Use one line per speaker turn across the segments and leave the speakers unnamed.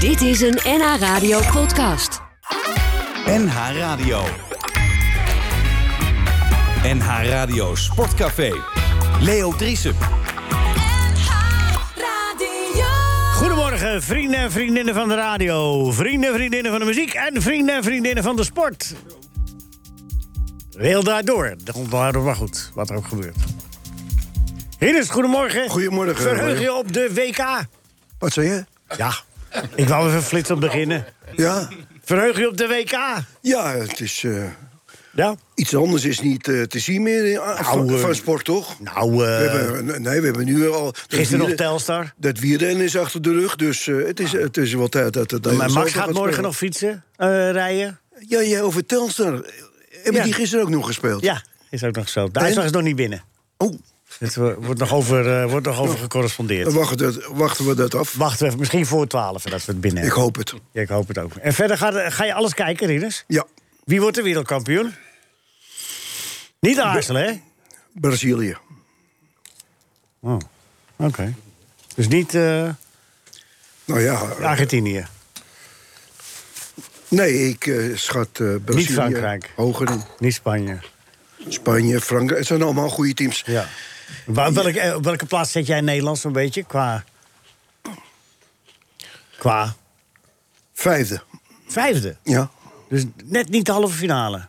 Dit is een NH Radio podcast.
NH Radio. NH Radio Sportcafé. Leo Driessen.
Goedemorgen, vrienden en vriendinnen van de radio, vrienden en vriendinnen van de muziek en vrienden en vriendinnen van de sport. Wil daardoor, dat onthouden we maar goed, wat er ook gebeurt. Hieres, goedemorgen.
Goedemorgen,
Verheug je
Mario.
op de WK?
Wat zei je?
Ja, ik wou even flitsend beginnen.
Ja?
Verheug je op de WK?
Ja, het is... eh,
Ja.
iets anders is niet eh, te zien meer in, ah, van,
eh,
van sport, toch?
Nou,
we
eh,
hebben, nee, we hebben nu al... dat
gisteren nog
wielen-
Telstar. Nou.
Dat wielrennen is achter de rug, dus eh, het, is, het is wel tijd dat... dat
Maar
dat-
Max
dat-
gaat
dat-
morgen nog fietsen, eh, rijden.
Ja, jij over Telstar. Hebben
Ja.
die gisteren ook nog gespeeld?
Ja, is ook nog zo. De uitslag is nog niet binnen.
Oh,
Het wo- wordt nog over, eh, wordt nog over gecorrespondeerd.
dan wachten, we dat- wachten we dat af.
Wachten we even, misschien voor 12 dat we het binnen
Ik
hebben.
hoop het.
Ja, ik hoop het ook. En verder ga, ga je alles kijken, Rinus?
Ja,
Wie wordt de wereldkampioen? Niet aarzelen, hè?
Brazilië.
Oh, oké. Dus niet eh,
Nou ja, eh,
Argentinië.
nee, ik eh, schat eh, Brazilië
Frankrijk.
hoger in.
Niet Spanje.
Spanje, Frankrijk, het zijn allemaal goede teams.
Ja. Waar, welke, eh, op welke plaats zet jij Nederland zo'n beetje? Qua... Qua
Vijfde,
vijfde.
ja.
Dus net niet de halve finale.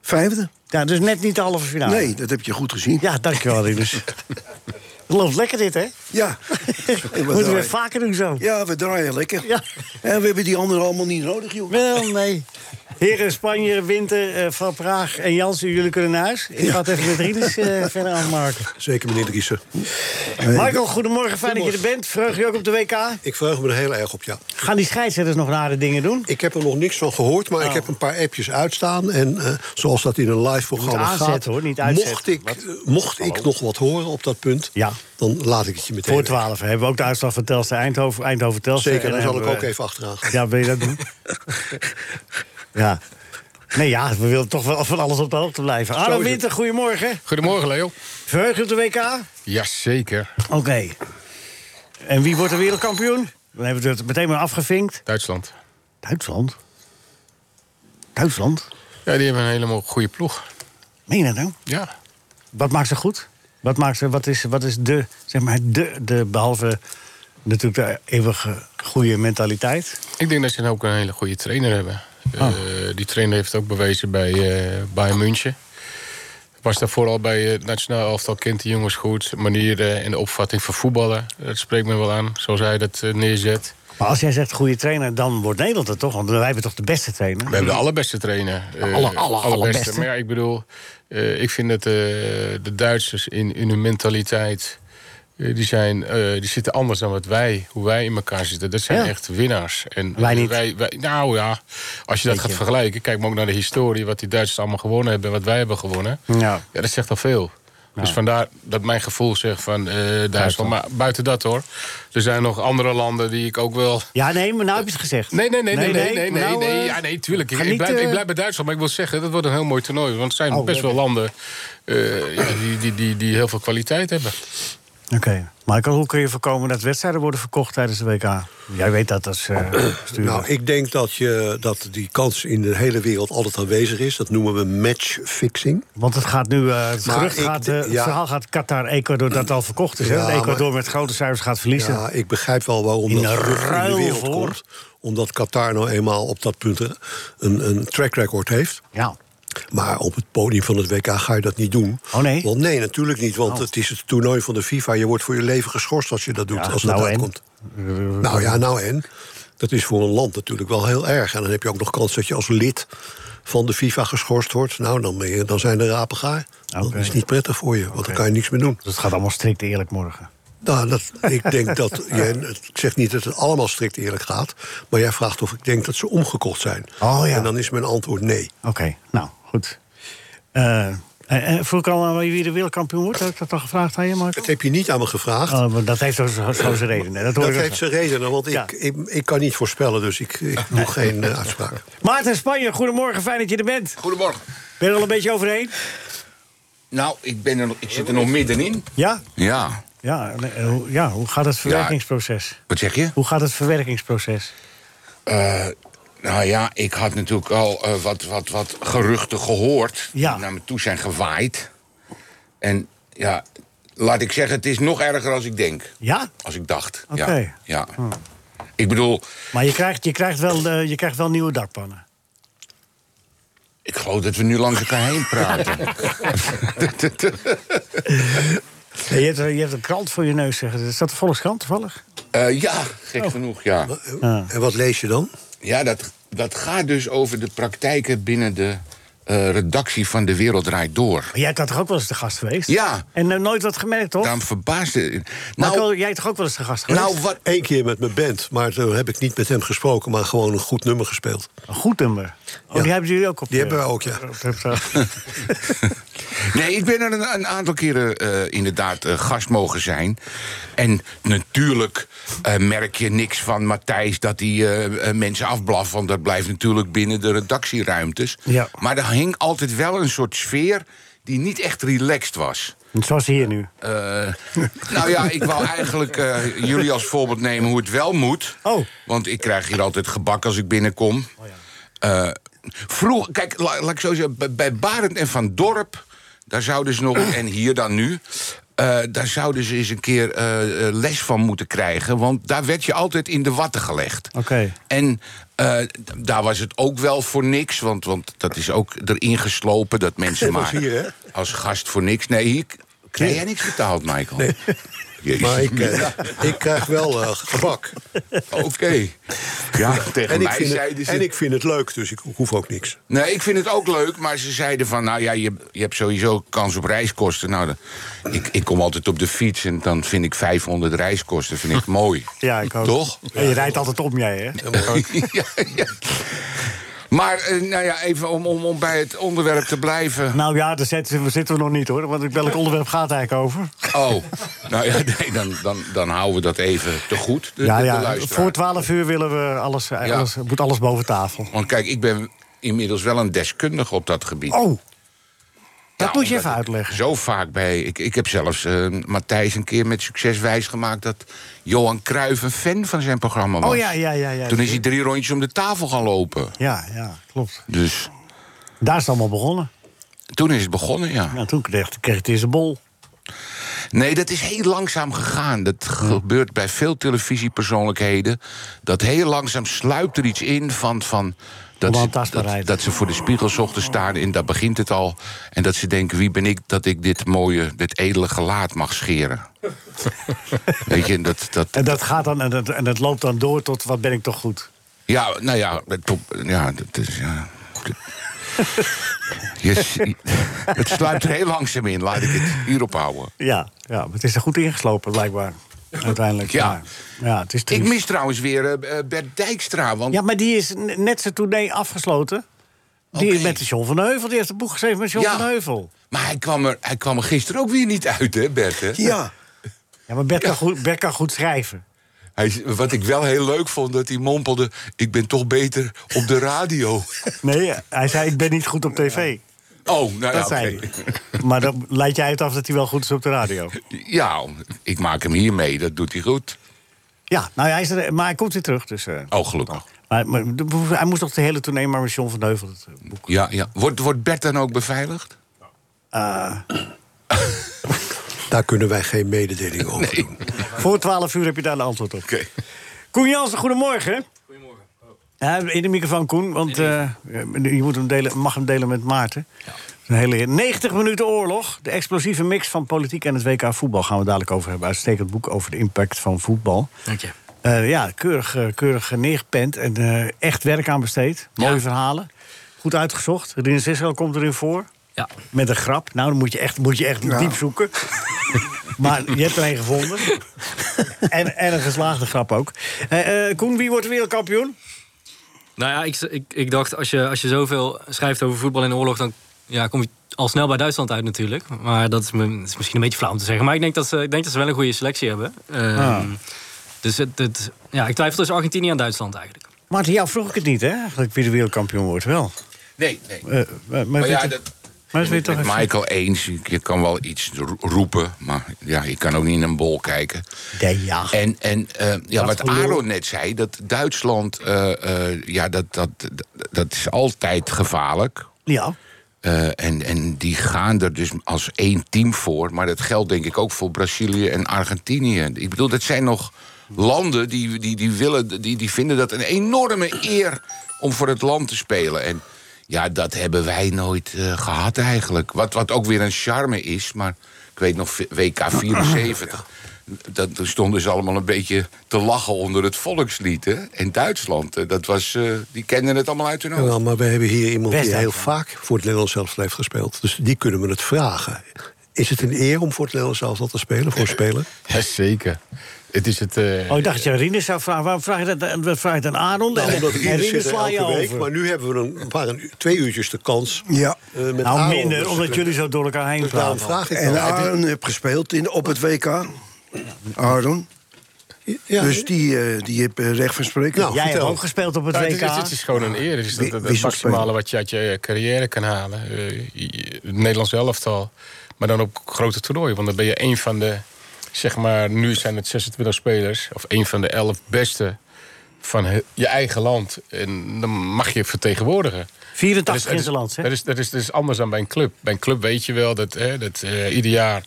Vijfde?
Ja, dus net niet de halve finale.
Nee, dat heb je goed gezien.
Ja, dankjewel, Rinus. Het loopt lekker dit, hè?
Ja.
Moeten we
draaien.
weer vaker doen zo.
Ja, we draaien lekker.
Ja.
En we hebben die anderen allemaal niet nodig, joh.
Wel, nee. Heren Spanje, Winter, eh, Van Praag en Jansen, jullie kunnen naar huis. Ik ga het even met Rinus eh, verder aanmaken.
Zeker, meneer Driessen. Eh,
Michael, goedemorgen. Fijn dat je er bent. Vreug je ook op de WK?
Ik verheug me er heel erg op, ja.
Gaan die scheidsrechters nog rare dingen doen? Oh.
Ik heb er nog niks van gehoord, maar ik heb een paar appjes uitstaan. En eh, zoals dat in een live programma
moet aanzetten,
gaat...
hoor, niet uitzetten.
Mocht, ik, eh, mocht ik nog wat horen op dat punt,
Ja.
dan laat ik het je meteen
Voor
weten.
12 hebben we ook de uitslag van Telstra Eindhoven. Eindhoven Telstra.
Zeker,
En
daar
dan
zal ik ook
hebben we-
even achteraan gaan.
Ja, wil je dat doen? ja. Nee, ja, we willen toch wel van alles op de hoogte blijven. Arno
het.
Winter, goedemorgen.
Goedemorgen, Leo.
Verheug je op de WK?
Jazeker.
Oké. En wie wordt de wereldkampioen? Dan hebben we het meteen maar afgevinkt.
Duitsland.
Duitsland? Duitsland?
Ja, die hebben een helemaal goede ploeg.
Meen je dat nou?
Ja.
Wat maakt ze goed? Wat, maakt ze, wat, is, wat is de, zeg maar, de, de, behalve natuurlijk de eeuwige goede mentaliteit?
Ik denk dat ze ook een hele goede trainer hebben. Eh, die trainer heeft ook bewezen bij eh Bayern München. Was daarvoor al bij eh, het nationaal elftal kent de jongens goed. Manieren en de opvatting van voetballen. Dat spreekt me wel aan, zoals hij dat eh, neerzet.
Maar als jij zegt goede trainer, dan wordt Nederland het toch? Want wij hebben toch de beste trainer?
We hebben de allerbeste trainer. Eh,
alle- alle- allerbeste.
Maar ja, ik bedoel, eh, ik vind dat eh, de Duitsers in, in hun mentaliteit. eh, die, zijn, eh, die zitten anders dan wat wij, hoe wij in elkaar zitten. Dat zijn
Ja.
echt winnaars. En
Wij niet.
nou ja, als je dat
Weet
gaat
je.
vergelijken, kijk maar ook naar de historie, wat die Duitsers allemaal gewonnen hebben en wat wij hebben gewonnen.
Ja.
Ja, dat zegt al veel. Dus vandaar dat mijn gevoel zegt van eh, Duitsland. Maar buiten dat hoor, er zijn nog andere landen die ik ook wel
Ja, nee, maar nou heb je het gezegd.
Nee, nee, nee, nee, nee, nee, nee,
nou,
nee.
eh,
Ja, nee, tuurlijk. Ik,
ga
ik
niet,
blijf,
eh,
ik blijf bij Duitsland, maar ik wil zeggen, dat wordt een heel mooi toernooi. Want er zijn
Oh,
best wel
lekker.
landen eh, ja, die, die, die, die heel veel kwaliteit hebben.
Oké. Michael, hoe kun je voorkomen dat wedstrijden worden verkocht tijdens de WK? Jij weet dat als eh bestuurder.
Nou, ik denk dat, je, dat die kans in de hele wereld altijd aanwezig is. Dat noemen we matchfixing.
Want het gaat nu, eh, het,
Maar
gerucht
ik
gaat,
d-
eh, het
ja.
verhaal gaat Qatar, Ecuador, dat al verkocht is. hè?
Ja,
Dat Ecuador
maar-
met grote cijfers gaat verliezen.
Ja, ik begrijp wel waarom
In
dat gerucht in
ruil
de wereld
voor.
komt. Omdat Qatar nou eenmaal op dat punt een, een track record heeft.
Ja.
Maar op het podium van het WK ga je dat niet doen.
Oh, nee? Oh.
Want nee, natuurlijk niet. Want het is het toernooi van de FIFA. Je wordt voor je leven geschorst als je dat doet.
Ja,
als dat
nou en?
uitkomt. Nou ja, nou en. Dat is voor een land natuurlijk wel heel erg. En dan heb je ook nog kans dat je als lid van de FIFA geschorst wordt. Nou, dan, ben je, dan zijn de rapen gaar.
Oké.
Dat is niet prettig voor je, want
Oké.
dan kan je niks meer doen.
Dus het gaat allemaal strikt eerlijk morgen.
Nou, dat, ik denk dat. jij- ik zeg niet dat het allemaal strikt eerlijk gaat. Maar jij vraagt of ik denk dat ze omgekocht zijn.
Oh, ja.
En dan is mijn antwoord nee.
Oké, nou, goed. Eh eh, eh, vroeg ik al aan wie de wereldkampioen wordt? Heb ik dat al gevraagd aan je, Michael?
Dat heb je niet aan me gevraagd.
Oh, maar dat heeft zo, zo, zo zijn redenen. Dat hoor
dat
ik ook
heeft
zo.
zijn redenen, want
Ja.
ik, ik, ik kan niet voorspellen, dus ik, ik doe geen eh, uitspraak.
Maarten Spanje, goedemorgen, fijn dat je er bent.
Goedemorgen.
Ben je er al een beetje overheen?
Nou, ik, ben er, nog- ik zit er nog middenin.
Ja?
Ja.
Ja, nee, en hoe- ja, hoe gaat het verwerkingsproces?
Wat zeg je?
Hoe gaat het verwerkingsproces?
Eh, nou ja, ik had natuurlijk al eh, wat, wat, wat geruchten gehoord.
Ja.
Die naar me toe zijn gewaaid. En ja, laat ik zeggen, het is nog erger als ik denk.
Ja?
Als ik dacht.
Oké.
Ja. ja. Ik bedoel,
Maar je krijgt, je krijgt, wel, eh, je krijgt wel nieuwe dakpannen.
ik geloof dat we nu langs elkaar heen praten.
Ja, je, hebt, je hebt een krant voor je neus, zeggen ze. Is dat de Volkskrant toevallig?
Eh, ja, gek genoeg, ja.
Oh. En wat lees je dan?
Ja, dat, dat gaat dus over de praktijken binnen de eh, redactie van De Wereld Draait Door.
Maar jij bent toch ook wel eens de gast geweest?
Ja.
En eh, nooit wat gemerkt, toch?
Daarom verbaasde...
Maar
Nou,
jij bent toch ook wel eens de gast geweest?
nou, wat,
Eén keer met mijn band, maar toen heb ik niet met hem gesproken, maar gewoon een goed nummer gespeeld.
Een goed nummer. Oh,
Ja.
die hebben jullie ook op
Die
de-
hebben we ook, ja.
op de-
Nee, ik ben er een, een aantal keren eh, inderdaad eh, gast mogen zijn. En natuurlijk eh, merk je niks van Matthijs dat hij eh, eh, mensen afblaft. Want dat blijft natuurlijk binnen de redactieruimtes.
Ja.
Maar er hing altijd wel een soort sfeer die niet echt relaxed was.
Zoals hier nu.
Eh, nou ja, ik wou eigenlijk eh, jullie als voorbeeld nemen hoe het wel moet.
Oh.
Want ik krijg hier altijd gebak als ik binnenkom. Eh, vroeg, kijk, la- laat ik zo zeggen, bij- bij Barend en Van Dorp... daar zouden ze nog, en hier dan nu... eh, daar zouden ze eens een keer eh, eh, les van moeten krijgen. Want daar werd je altijd in de watten gelegd.
Oké.
En eh, d- daar was het ook wel voor niks. Want, want dat is ook erin geslopen dat mensen
Dat was
maar
hier, hè?
als gast voor niks. Nee, hier k- krijg jij niks betaald, Michael. Nee. Jezus.
Maar ik, eh, ik krijg wel eh gebak.
Oké. Ja, tegen
En ik,
mij
vind
zeiden
het,
ze...
en ik vind het leuk, dus ik hoef ook niks.
Nee, ik vind het ook leuk, maar ze zeiden van... nou ja, je, je hebt sowieso kans op reiskosten. Nou, dan- ik, ik kom altijd op de fiets en dan vind ik 500 reiskosten vind ik mooi.
Ja, ik ook.
Toch?
En je rijdt altijd om jij, hè?
ja, ja. Maar eh, nou ja, even om, om, om bij het onderwerp te blijven.
Nou ja, daar zitten we, zitten we nog niet, hoor. Want welk onderwerp gaat het eigenlijk over?
Oh, nou ja, nee, dan, dan, dan houden we dat even te goed. De,
ja,
de- de
ja.
luisteraar.
Voor 12 uur willen we alles, eh,
Ja.
alles, moet alles boven tafel.
Want kijk, ik ben inmiddels wel een deskundige op dat gebied.
Oh,
Ja,
dat moet je
omdat
even
ik
uitleggen.
Zo vaak bij. Ik, ik heb zelfs eh, Matthijs een keer met succes wijsgemaakt dat Johan Cruijff een fan van zijn programma was.
Oh ja, ja, ja. ja.
Toen is hij drie rondjes om de tafel gaan lopen.
Ja, ja, klopt.
Dus
Daar is het allemaal begonnen.
toen is het begonnen, ja.
Nou, toen kreeg, kreeg het eerst een bol.
Nee, dat is heel langzaam gegaan. Dat gebeurt bij veel televisiepersoonlijkheden. Dat heel langzaam sluipt er iets in van. van dat, ze, dat,
Onaantastbaarheid.
dat ze voor de spiegel zochten staan en daar begint het al. En dat ze denken: wie ben ik dat ik dit mooie, dit edele gelaat mag scheren? Weet je, en dat, dat,
En dat, gaat dan, en, dat, en dat loopt dan door tot wat ben ik toch goed.
Ja, nou ja, het, op- ja, dat is. Ja. Je, zie- het sluipt er heel langzaam in, laat ik het hierop houden.
Ja, ja maar het is er goed ingeslopen, blijkbaar. Uiteindelijk.
Ja.
Maar, ja het is
Ik
triest.
mis trouwens weer eh, Bert Dijkstra. Want
Ja, maar die is n- net zijn tournee afgesloten. Die is
Oké.
met de John van Heuvel. Die heeft een boek geschreven met John
Ja.
van Heuvel.
Maar hij kwam, er, hij kwam er gisteren ook weer niet uit, hè, Bert? Hè?
Ja,
Ja, maar Bert, Kan, goed, Bert kan goed schrijven.
Hij, wat ik wel heel leuk vond, dat hij mompelde... ik ben toch beter op de radio.
Nee, hij zei ik ben niet goed op tv.
Oh, nou ja,
Dat zei
oké.
hij. Maar dan leid jij het af dat hij wel goed is op de radio.
Ja, ik maak hem hiermee, dat doet hij goed.
Ja, nou, hij is er, maar hij komt weer terug. Dus, eh.
Oh, gelukkig.
maar, maar hij moest nog de hele tournee maar met John van Heuvel. Het eh, boek.
Ja, ja. Wordt, wordt Bert dan ook beveiligd?
Eh,
daar kunnen wij geen mededeling over doen.
Voor 12 uur heb je daar een antwoord op. Koen Jansen, goedemorgen. Goedemorgen. in de microfoon, Koen, want eh, je moet hem delen, mag hem delen met Maarten. Een hele eer. 90 minuten oorlog. De explosieve mix van politiek en het WK voetbal gaan we dadelijk over hebben. Uitstekend boek over de impact van voetbal.
Dank je.
Eh, ja, keurig, eh, keurig neergepend en eh, echt werk aan besteed. Mooie
Ja.
verhalen. Goed uitgezocht. Rin Sissel komt erin voor.
Ja.
Met een grap. Nou, dan moet je echt, moet je echt diep zoeken. maar je hebt er een gevonden. en, en een geslaagde grap ook. Eh, eh, Koen, wie wordt wereldkampioen?
Nou ja, ik, ik, ik dacht, als je, als je zoveel schrijft over voetbal in de oorlog, dan ja, kom je al snel bij Duitsland uit natuurlijk. Maar dat is, me- is misschien een beetje flauw om te zeggen. Maar ik denk dat ze, ik denk dat ze wel een goede selectie hebben. Ehm,
Ah.
Dus het, het- ja, ik twijfel tussen Argentinië en Duitsland eigenlijk.
Maarten, jou vroeg ik het niet, hè? Eigenlijk wie de wereldkampioen wordt, wel.
Nee, nee.
Eh, maar
Oh
Maar ja,
weet je-
dat,
Maar dat weet toch
met
even-
Michael eens. Je- Je kan wel iets ro- roepen, maar ja, je kan ook niet in een bol kijken.
Nee, ja.
En, en eh, ja, wat
gelul.
Aaron net zei, dat Duitsland, eh, eh, ja, dat, dat, dat, dat is altijd gevaarlijk.
Ja.
Eh, en, en die gaan er dus als één team voor. Maar dat geldt denk ik ook voor Brazilië en Argentinië. Ik bedoel, dat zijn nog landen die, die, die, willen, die, die vinden dat een enorme eer om voor het land te spelen. En ja, dat hebben wij nooit eh, gehad eigenlijk. Wat, wat ook weer een charme is, maar ik weet nog WK 74. Dat er stonden ze allemaal een beetje te lachen onder het volkslied. Hè? En Duitsland, eh, dat was, eh, die kenden het allemaal uit hun
Nou,
hoofd.
Jawel, maar we hebben hier iemand die heel
West-Duitsland.
vaak voor het Nederlands zelf heeft gespeeld. Dus die kunnen we het vragen. Is het een eer om voor het Nederlands zelf te spelen, voor een speler?
Ja, zeker. Het is het... eh,
Oh, ik dacht dat je aan Rinus zou vragen. Waarom vraag je dat, dat vraag je dan aan Aron? En-
Nou, omdat
en
iedereen
Rinus
zit er
sla je
elke week.
over.
Maar nu hebben we een, een paar een, twee uurtjes de kans.
Ja.
eh, met
nou,
Aaron.
minder,
Dus
omdat jullie zo door elkaar heen
Daarom
praten.
vraag ik
En
dan.
Aaron heeft gespeeld in, op het WK. Aaron.
Ja,
Dus die, eh, die heeft eh, recht van spreken.
Nou,
Jij hebt
vertel.
ook gespeeld op het
Nou,
WK.
dit, is, dit is gewoon een eer. Dit is
Wie-
het, het
wisselspeler.
maximale wat je uit je carrière kan halen. Eh, je- het Nederlands elftal. Maar dan op grote toernooien. Want dan ben je een van de... Zeg maar, nu zijn het 26 spelers. Of een van de 11 beste van he- je eigen land. En dan mag je vertegenwoordigen.
84
Dat
in
is-
zijn land, hè?
Dat is, dat, is, dat is anders dan bij een club. Bij een club weet je wel dat, hè, dat eh, ieder jaar...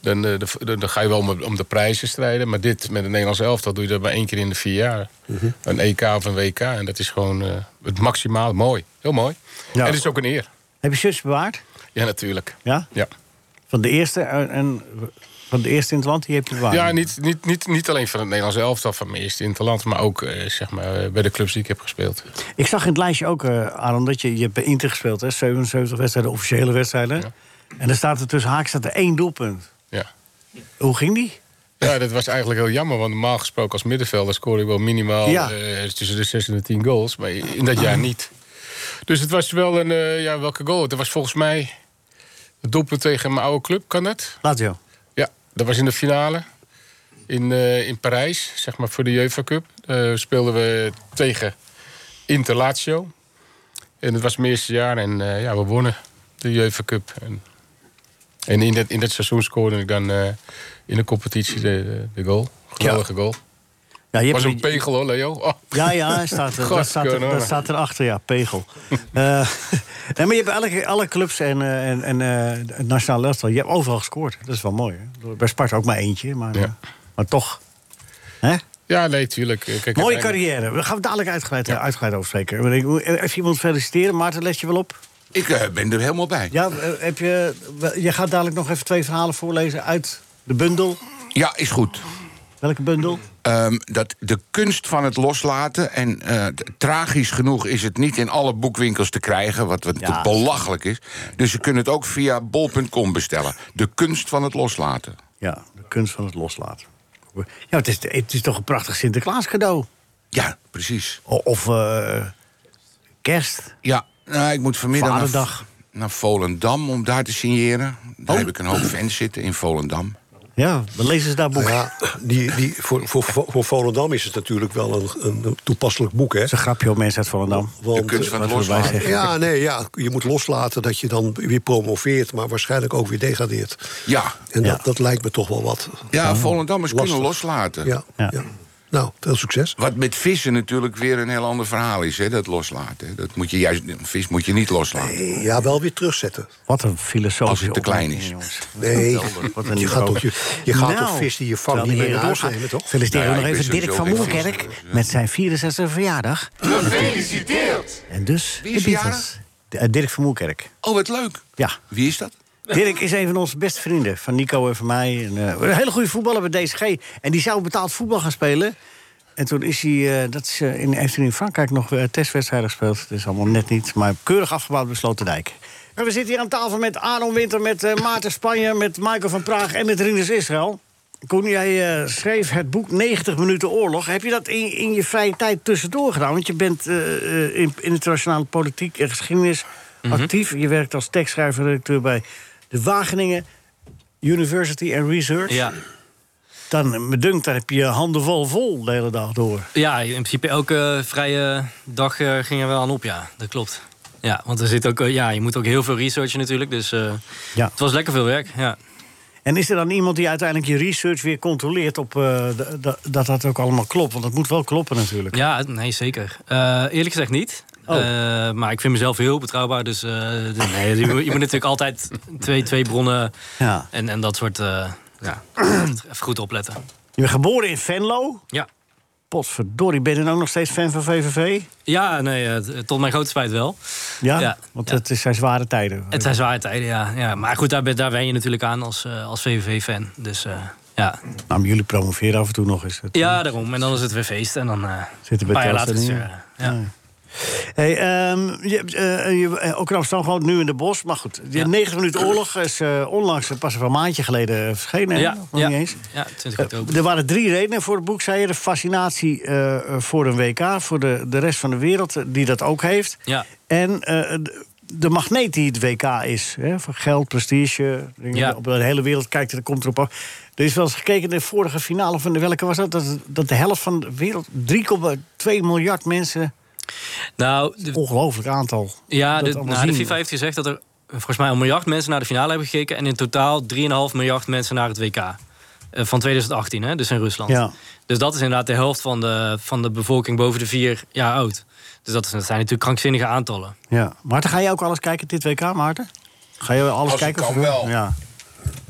Dan, eh, de- dan, dan ga je wel om, om de prijzen strijden. Maar dit met het Nederlands elftal doe je dat maar één keer in de vier jaar.
Mhm.
Een EK of een WK. En dat is gewoon eh, het maximaal mooi. Heel mooi.
Ja.
En het is ook een eer.
Heb je zus bewaard?
Ja, natuurlijk.
Ja?
Ja,
Van de eerste, eh, en, van de eerste in het land, die heb je bewaard?
ja niet, niet, niet, niet alleen van het Nederlands elftal, van mijn eerste interland. Maar ook eh, zeg maar, eh, bij de clubs die ik heb gespeeld.
Ik zag in het lijstje ook, eh Aron, dat je, je hebt bij Inter gespeeld, hè? 77 wedstrijden, officiële wedstrijden.
Ja.
En er staat er tussen haak staat er één doelpunt.
Ja.
Hoe ging die?
Ja, dat was eigenlijk heel jammer. Want normaal gesproken als middenvelder scoor ik wel minimaal
Ja.
eh, tussen de 6 en de 10 goals. Maar in dat jaar niet. Dus het was wel een... eh, ja, welke goal? Het was volgens mij het doelpunt tegen mijn oude club. Kan dat?
Lazio.
Ja, dat was in de finale. In, eh, in Parijs, zeg maar voor de UEFA Cup. eh, speelden we tegen Inter Lazio. En het was mijn eerste jaar. En eh, ja, we wonnen de UEFA Cup. En, en in, dat, in dat seizoen scoorde ik dan eh, in de competitie de, de, de goal. Geweldige goal.
Ja, je
was
hebt-
een pegel hoor, Leo. Oh.
Ja, ja, hij staat, er-
God,
dat, staat er,
Conor.
dat staat erachter, ja, pegel. Eh, nee, maar je hebt alle, alle clubs en, eh, en, en eh, het nationale elftal, je hebt overal gescoord. Dat is wel mooi. Hè? Bij Sparta ook maar eentje, maar,
Ja.
eh, maar toch. Hè?
Ja, nee, tuurlijk. Eh, Kijk,
Mooie
uiteindelijk-
carrière. We gaan we dadelijk uitgebreid, eh, uitgebreid over spreken. Maar ik moet Even iemand feliciteren. Maarten, let je wel op?
Ik eh, ben er helemaal bij.
Ja, eh, heb je, wel, je gaat dadelijk nog even twee verhalen voorlezen uit de bundel.
Ja, is goed.
Welke bundel?
Ehm, dat de kunst van het loslaten. En eh, t- tragisch genoeg is het niet in alle boekwinkels te krijgen. Wat, wat
Ja.
belachelijk is. Dus je kunt het ook via bol.com bestellen. De kunst van het loslaten.
Ja, de kunst van het loslaten. Ja, het is, het is toch een prachtig Sinterklaas cadeau.
Ja, precies.
O- Of eh, kerst.
Ja, nou, ik moet vanmiddag naar-
Vaderdag.
Naar, Volendam om daar te signeren. Daar
Oh.
heb ik een hoop fans zitten in Volendam.
Ja, dan lezen ze daar boeken.
Ja, die, die, voor, voor, voor Volendam is het natuurlijk wel een, een toepasselijk boek. Hè?
Dat is een grapje op mensen uit Volendam.
Want, eh,
De kunst van het
wat we erbij
loslaten.
zeggen.
Ja, nee, ja, je moet loslaten dat je dan weer promoveert, maar waarschijnlijk ook weer degradeert.
Ja.
En
Ja.
dat, dat lijkt me toch wel wat. eh,
Ja, Volendammers kunnen
Lastig.
loslaten.
Ja,
Ja.
ja. Nou, veel succes.
Wat met vissen natuurlijk weer een heel ander verhaal is, hè, dat loslaten. Dat moet je juist, een vis moet je niet loslaten.
Ja, wel weer terugzetten.
Wat een filosofische
Als het te klein
opmerking,
is.
jongens.
Nee,
Wat een
je gaat, toch,
idioot.
je, je gaat
Nou,
toch vis die je vangt
terwijl
niet meer
de
naar
heren
huis
doorgaan.
nemen, toch?
Feliciteren
Nou
we
ja,
nog
ik
even
ben
Dirk van
sowieso geen
Moerkerk
visser, dus, ja.
met zijn 64e verjaardag. Gefeliciteerd! En dus
Wie is
de Beatles.
jarig?
De- eh, Dirk van Moerkerk.
Oh, wat leuk.
Ja.
Wie is dat?
Dirk is een van onze beste vrienden, van Nico en van mij. En, eh, een hele goede voetballer bij DSG. En die zou betaald voetbal gaan spelen. En toen is hij, eh, dat is, eh, in, heeft hij in Frankrijk nog eh, testwedstrijden gespeeld. Dat is allemaal net niet, maar keurig afgebouwd bij Sloterdijk. En we zitten hier aan tafel met Aaron Winter, met eh, Maarten Spanje... met Michael van Praag en met Rinus Israël. Koen, jij eh, schreef het boek 90 minuten oorlog. Heb je dat in, in je vrije tijd tussendoor gedaan? Want je bent eh, eh, in in internationale politiek en geschiedenis actief. Je werkt als tekstschrijver en redacteur bij de Wageningen University and Research.
Ja,
Dan, eh, me dunkt, daar heb je je handen vol vol de hele dag door.
ja in principe elke vrije dag eh, ging er wel aan op, ja. Dat klopt. Ja, want er zit ook, eh, ja, je moet ook heel veel researchen natuurlijk. Dus eh,
Ja.
het was lekker veel werk. Ja.
En is er dan iemand die uiteindelijk je research weer controleert op eh, d- d- dat dat ook allemaal klopt? Want dat moet wel kloppen natuurlijk.
Ja, nee, zeker. Eh, eerlijk gezegd niet.
Oh.
Eh, maar ik vind mezelf heel betrouwbaar. Dus eh, d- nee, je, moet- je moet natuurlijk altijd twee, twee bronnen
Ja.
en, en dat soort... eh, ja, even goed opletten.
Je bent geboren in Venlo.
Ja.
Potverdorie, ben je dan ook nog steeds fan van VVV?
Ja, nee, eh, t- tot mijn grote spijt wel.
Ja,
Ja,
want
ja.
het is- zijn zware tijden.
Het zijn zware tijden, ja. ja. Maar goed, daar, ben- daar wen je natuurlijk aan als, eh, als VVV-fan. Dus eh, ja.
Nou, maar jullie promoveren af en toe nog eens. Het,
ja, daarom. En dan is het weer feest. En dan eh
Zit er
een
bij
paar jaar later
Telstar
is het
niet
weer, eh, ja.
Hey, ehm, je, eh, je, eh, ook in Amsterdam gewoon nu in de bos. Maar goed, die 90 minuten oorlog is eh, onlangs eh, pas een maandje geleden verschenen. hè?
Ja,
Nog
ja.
niet eens.
Ja,
Eh,
20 oktober.
Er waren drie redenen voor het boek, zei je. De fascinatie eh, eh, voor een WK, voor de, de rest van de wereld eh, die dat ook heeft.
Ja.
En eh, de- de magneet die het WK is. Hè, van geld, prestige. dingen.
Ja.
Op de hele wereld kijkt er, komt erop af. Er is wel eens gekeken in de vorige finale van de welke was dat? Dat, dat de helft van de wereld, 3,2 miljard mensen.
Nou, de-
Ongelooflijk aantal.
ja,
dat
de,
allemaal
nou, de
zien.
FIFA heeft gezegd dat er eh, volgens mij een miljard mensen naar de finale hebben gekeken. En in totaal 3,5 miljard mensen naar het WK. Eh, van 2018, hè, dus in Rusland.
Ja.
Dus dat is inderdaad de helft van de, van de bevolking boven de vier jaar oud. Dus dat, is, dat zijn natuurlijk krankzinnige aantallen.
ja. Maarten, ga jij ook alles kijken dit WK, Maarten? Ga je
Als
alles
ik
kijken?
kan
Of-
wel.
Ja.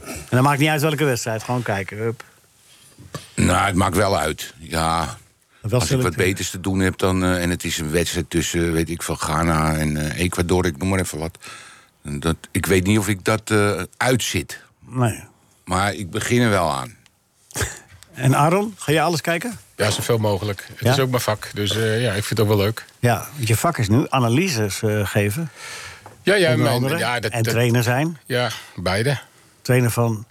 En dat maakt niet uit welke wedstrijd, gewoon kijken. Hup.
Nou, het maakt wel uit. Ja.
Wel
Als ik wat
selectief.
beters te doen heb dan. eh, en het is een wedstrijd tussen, weet ik van Ghana en eh, Ecuador, ik noem maar even wat. En Dat, ik weet niet of ik dat eh, uitzit.
Nee.
Maar ik begin er wel aan.
En Aaron, ga jij alles kijken?
Ja, zoveel mogelijk. Het
Ja?
is ook mijn vak, dus eh, ja, ik vind het ook wel leuk.
Ja, want je vak is nu analyses eh, geven.
Ja, ja,
onder
mijn-
andere.
ja, dat,
en
dat-
trainer zijn.
ja, beide.
Trainer van,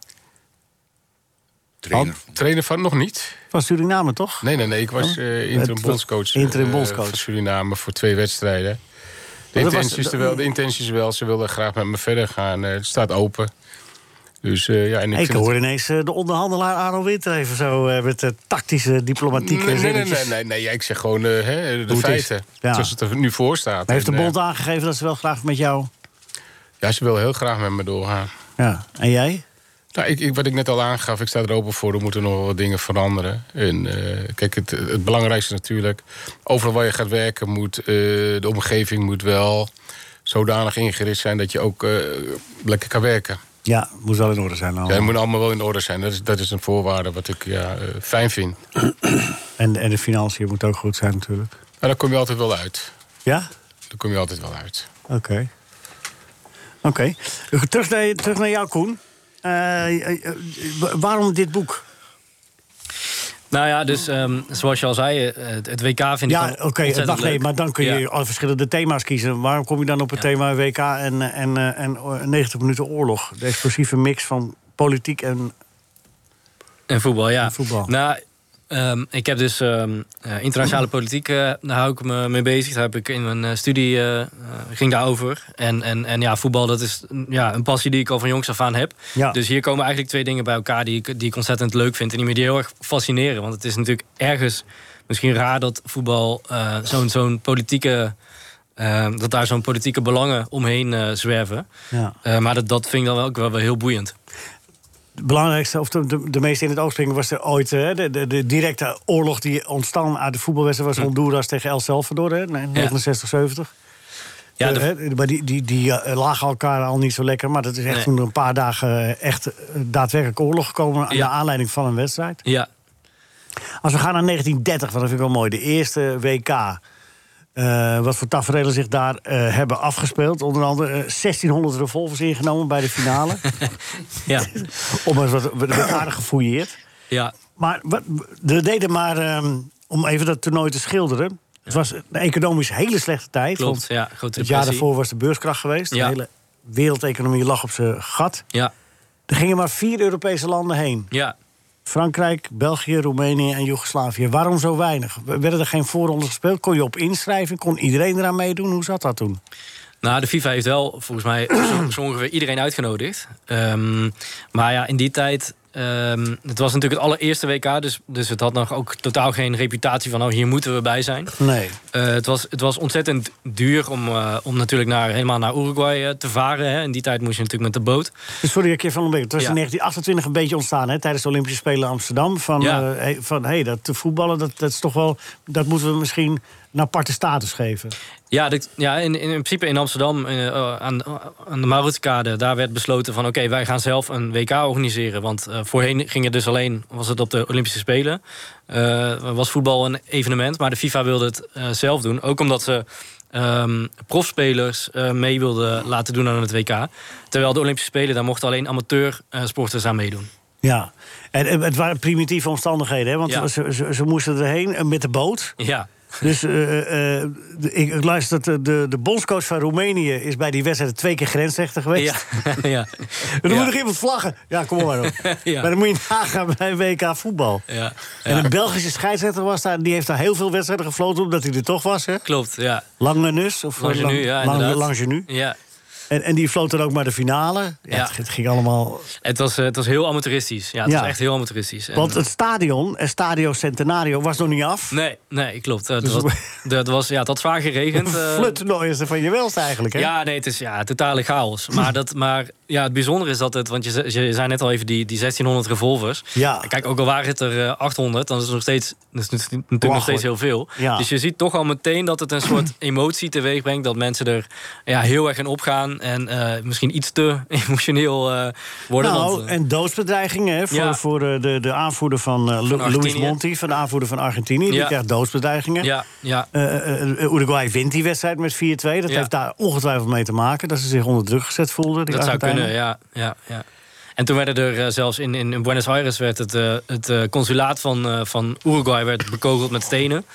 Trainer.
Trainer van nog niet.
van Suriname, toch? Oh.
Nee, nee, nee. Ik was eh,
Het
interim
was
bondscoach. eh,
interim bondscoach.
Van Suriname voor twee wedstrijden. De
dat was-
intentie, is er wel, de intentie is er wel. Ze wilden graag met me verder gaan. Eh, het staat open. Dus eh, ja, en ik,
Ik,
vind het-
hoor ineens eh, de onderhandelaar Aaron Winter even zo... eh, met de tactische, diplomatieke
Nee, nee, nee,
zinnetjes.
nee, nee, nee, ja, ik zeg gewoon eh, hè, de
Hoe het is.
feiten.
Ja.
Zoals het er nu voor staat.
Maar heeft de
En, eh,
bond aangegeven dat ze wel graag met jou...
ja, ze wil heel graag met me doorgaan.
Ja, en jij?
Nou, ik, ik, wat ik net al aangaf, ik sta er open voor. Er moeten nog wel wat dingen veranderen. En, eh, kijk, het, het belangrijkste natuurlijk... overal waar je gaat werken moet... eh, de omgeving moet wel zodanig ingericht zijn... dat je ook eh, lekker kan werken.
Ja, moet wel in orde zijn.
Ja,
allemaal.
het moet allemaal wel in orde zijn. Dat is, dat is een voorwaarde wat ik ja, eh, fijn vind.
en, en de financiën moet ook goed zijn natuurlijk.
Maar daar kom je altijd wel uit.
Ja?
Daar kom je altijd wel uit.
Oké. Oké. Terug, naar, terug naar jou, Koen. Eh, eh, eh, wa- waarom dit boek?
Nou ja, dus ehm, zoals je al zei, eh, het, het WK vind ik
Ja,
gewoon
oké,
ontzettend
wacht nee,
leuk.
maar dan kun je
Ja.
al verschillende thema's kiezen. Waarom kom je dan op het thema WK en, eh, en, eh, en eh, 90 minuten oorlog? De explosieve mix van politiek en...
En voetbal, ja.
En voetbal.
Nou, ehm, ik heb dus ehm, eh, internationale politiek, eh, daar hou ik me mee bezig. Daar heb ik in mijn eh, studie eh, eh, ging daarover. En, en, en ja, voetbal, dat is mm, ja, een passie die ik al van jongs af aan heb.
Ja.
Dus hier komen eigenlijk twee dingen bij elkaar die ik, die ik ontzettend leuk vind. En die me die heel erg fascineren. Want het is natuurlijk ergens misschien raar dat voetbal eh, zo'n zo'n politieke. eh, dat daar zo'n politieke belangen omheen eh, zwerven.
Ja.
Eh, maar dat, dat vind ik dan wel ook wel, wel heel boeiend.
Het belangrijkste, of de, de, de meeste in het oog springen... was er ooit eh, de, de, de directe oorlog die ontstaan uit de voetbalwedstrijd...
Hm.
was Honduras tegen El Salvador, hè, in 69, 70.
Ja,
Ja,
de-
maar die, die, die eh, lagen elkaar al niet zo lekker. Maar dat is echt
Nee.
toen er een paar dagen eh, echt eh, daadwerkelijk oorlog gekomen... aan
Ja.
de aanleiding van een wedstrijd.
ja,
Als we gaan naar 1930, want dat vind ik wel mooi. De eerste WK. eh, wat voor tafereelen zich daar eh, hebben afgespeeld. Onder andere eh, 1600 revolvers ingenomen bij de finale.
ja,
Om eens wat wat- wat aardig gefouilleerd.
ja.
Maar wat, we deden maar, ehm, om even dat toernooi te schilderen. Het was een economisch hele slechte tijd.
Klopt,
want
ja, grote
het jaar
depressie.
daarvoor was de beurskracht geweest.
Ja.
De hele wereldeconomie lag op zijn gat.
Ja,
Er gingen maar vier Europese landen heen.
ja.
Frankrijk, België, Roemenië en Joegoslavië. Waarom zo weinig? W- Werden er geen voorrondes gespeeld? Kon je op inschrijven? Kon iedereen eraan meedoen? Hoe zat dat toen?
Nou, de FIFA heeft wel volgens mij zo, zo ongeveer iedereen uitgenodigd. Ehm, maar ja, in die tijd ehm, het was natuurlijk het allereerste WK, dus, dus het had nog ook totaal geen reputatie van, oh, hier moeten we bij zijn.
Nee.
Eh, het, was, het was ontzettend duur om, eh, om natuurlijk naar, helemaal naar Uruguay eh, te varen. Hè. In die tijd moest je natuurlijk met de boot.
Sorry, ik keer van een beetje. Het was
Ja.
in 1928 een beetje ontstaan hè, tijdens de Olympische Spelen in Amsterdam. Van, eh
Ja.
hey, van hey, dat voetballen, dat, dat is toch wel. Dat moeten we misschien een aparte status geven.
Ja, dit- ja in, in, in principe in Amsterdam, eh, eh, aan, aan de Mauritsukade, daar werd besloten van... oké, wij gaan zelf een WK organiseren. Want eh, voorheen ging het dus alleen, was het op de Olympische Spelen... eh, was voetbal een evenement, maar de FIFA wilde het eh, zelf doen. Ook omdat ze ehm, profspelers eh, mee wilden laten doen aan het WK. Terwijl de Olympische Spelen, daar mochten alleen amateursporters aan meedoen.
Ja, en, eh, het waren primitieve omstandigheden, hè, want
Ja.
ze, ze, ze moesten erheen eh, met de boot.
Ja,
Dus eh, eh, de- ik, ik luister dat de, de, de bondscoach van Roemenië is bij die wedstrijd twee keer grensrechter geweest.
ja, ja.
En dan moet nog iemand vlaggen. Ja, kom maar op.
Ja.
Maar dan moet je nagaan bij WK voetbal.
ja.
En een Belgische scheidsrechter was daar, die heeft daar heel veel wedstrijden gefloten omdat hij er toch was. Hè?
Klopt, ja.
Lange nus. Of eh,
Lange nu, ja,
Lange-
inderdaad.
Lange nu.
Ja,
En, en die floot dan ook maar de finale. Ja,
Ja.
Het, het ging allemaal.
het was, eh, het was heel amateuristisch. Ja, het
Ja.
was echt heel amateuristisch. En-
Want het stadion, eh, Stadio Centenario, was nog niet af.
Nee, nee, klopt.
Dus
Eh, dat was, dat was, ja, het had zwaar geregend. eh.
Fluttoernooi is er van je welst eigenlijk. Hè?
ja, nee, het is ja, totale chaos. Maar, dat, maar ja, het bijzondere is dat het... Want je, ze- je zei net al even die, die 1600 revolvers.
Ja.
Kijk, ook al waren het er eh, 800, dan is het nog steeds, dat is natu- natuurlijk nog steeds heel veel.
Ja.
Dus je ziet toch al meteen dat het een soort emotie teweeg brengt. Dat mensen er ja, heel erg in opgaan. En eh, misschien iets te emotioneel eh, worden. want,
Nou,
eh,
en doodsbedreigingen hè, voor,
Ja.
voor eh, de, de aanvoerder van, eh, Lu-
Argentinië.
Luis Monti, van de aanvoerder van Argentinië. Die
Ja.
krijgt doodsbedreigingen.
ja, ja,
Eh, eh, eh, Uruguay wint die wedstrijd met 4-2. Dat
Ja.
heeft daar ongetwijfeld mee te maken dat ze zich onder druk gezet voelden. die
Dat zou
Argentijnen.
kunnen, ja. ja, ja. En toen werden er eh, zelfs in, in in Buenos Aires werd het, eh, het eh, consulaat van, eh, van Uruguay werd bekogeld met stenen.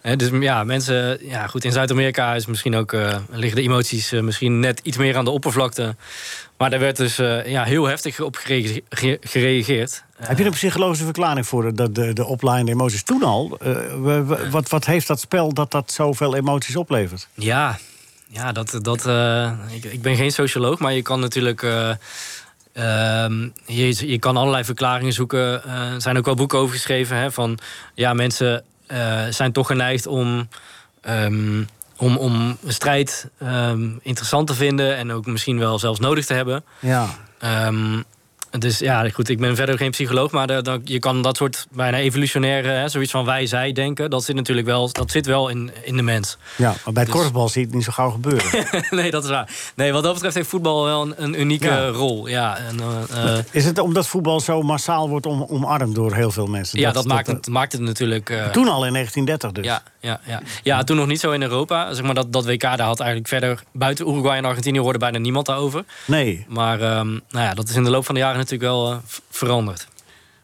Hè, dus m- ja, mensen, ja, goed, in Zuid-Amerika is misschien ook, eh, liggen de emoties eh, misschien net iets meer aan de oppervlakte. Maar daar werd dus eh, ja, heel heftig op gerege- ge- gereageerd. Eh,
Heb je er een psychologische verklaring voor dat de, de oplaaiende emoties toen al? eh, we- we- wat, wat heeft dat spel dat dat zoveel emoties oplevert?
Ja, ja dat, dat, eh, ik, ik ben geen socioloog, maar je kan natuurlijk. eh, ehm, je, je kan allerlei verklaringen zoeken. Eh, er zijn ook wel boeken over geschreven. Hè, van ja, mensen eh, zijn toch geneigd om. ehm, om, om strijd ehm, interessant te vinden en ook misschien wel zelfs nodig te hebben.
Ja.
Ehm, dus ja, goed, ik ben verder geen psycholoog, maar daar- dan- je kan dat soort bijna evolutionaire, hè, zoiets van wij-zij denken, dat zit natuurlijk wel, dat zit wel in, in de mens.
ja, maar bij het
Dus-
korfbal zie je het niet zo gauw gebeuren.
nee, dat is waar. Nee, wat dat betreft heeft voetbal wel een, een unieke
Ja.
rol. Ja, en, eh, eh,
Is het omdat voetbal zo massaal wordt om, omarmd door heel veel mensen?
ja dat, maakt, het, maakt het natuurlijk. eh,
Toen al in 1930 dus.
ja, ja, ja. ja, toen nog niet zo in Europa. Zeg maar dat, dat WK daar had eigenlijk verder. Buiten Uruguay en Argentinië hoorde bijna niemand daarover.
Nee,
Maar ehm, nou ja, dat is in de loop van de jaren natuurlijk wel eh, v- veranderd.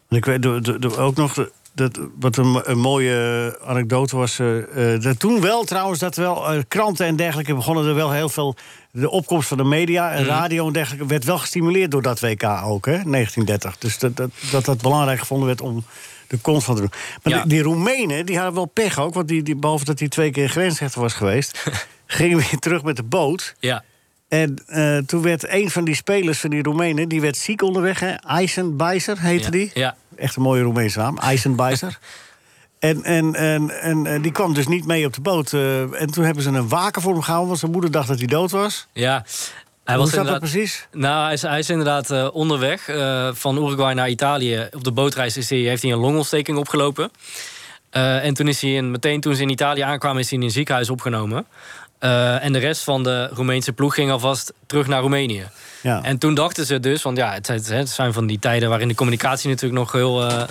want ik weet de- de- de- ook nog... de- dat, wat een, mo- een mooie anekdote was. eh, eh, dat toen wel trouwens, dat wel eh, kranten en dergelijke begonnen er wel heel veel. De opkomst van de media
Mhm.
en radio en dergelijke werd wel gestimuleerd door dat WK ook, hè, 1930. Dus dat dat, dat, dat belangrijk gevonden werd om de komst van te doen. Maar
Ja.
die, die Roemenen, die hadden wel pech ook, want die, die, behalve dat hij twee keer grensrechter was geweest, gingen weer terug met de boot.
Ja,
En eh, toen werd een van die spelers van die Roemenen... die werd ziek onderweg, hè? Eisenbeiser heette
Ja,
die.
ja.
Echt een mooie Roemeense naam, Eisenbeiser. en, en, en, en, eh, die kwam dus niet mee op de boot. eh, en toen hebben ze een waken voor hem gehouden... want zijn moeder dacht dat hij dood was.
ja. Hij
Hoe
was
zat dat
inderdaad-
precies?
Nou, hij is, hij is inderdaad eh, onderweg eh, van Uruguay naar Italië. Op de bootreis is hij, heeft hij een longontsteking opgelopen. Eh, en toen is hij in, meteen toen ze in Italië aankwamen, is hij in een ziekenhuis opgenomen. Eh, en de rest van de Roemeense ploeg ging alvast terug naar Roemenië.
Ja.
En toen dachten ze dus, want ja, het, het- het zijn van die tijden waarin de communicatie natuurlijk nog heel eh, eh, eh,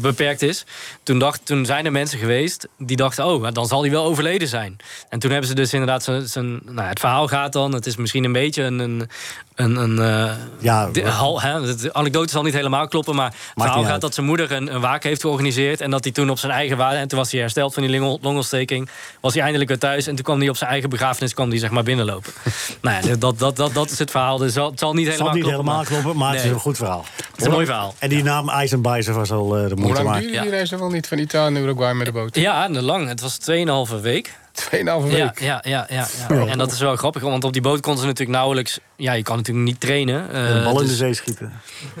beperkt is. Toen, dacht, toen zijn er mensen geweest die dachten, oh, dan zal hij wel overleden zijn. En toen hebben ze dus inderdaad zijn, zijn nou, ja, het verhaal gaat dan, het is misschien een beetje een, een, een, een eh,
Ja,
de,
maar-
hal, hè, de anekdote zal niet helemaal kloppen, maar het
niet
verhaal
uit.
gaat dat zijn moeder een, een waak heeft georganiseerd en dat hij toen op zijn eigen waarde, en toen was hij hersteld van die lingel- longontsteking, was hij eindelijk weer thuis en toen kwam hij op zijn eigen begrafenis, kwam hij zeg maar binnenlopen. nou ja, dat, dat, dat, dat is het verhaal, dus het zal niet
Het zal
helemaal
niet
kloppen.
helemaal kloppen, maar het is
Nee.
een goed verhaal.
Het is een mooi verhaal.
En die naam Eisenbeiser was al eh, de
Hoe
moeite
lang
waard.
duurde
Ja.
die reis dan wel niet van Italië naar Uruguay met de boot?
Ja, en lang. Het was 2,5 week.
Tweeënhalve week.
Ja, ja, ja, ja, ja. En dat is wel grappig, want op die boot konden ze natuurlijk nauwelijks... Ja, je kan natuurlijk niet trainen. eh,
Een bal in
dus
de zee schieten.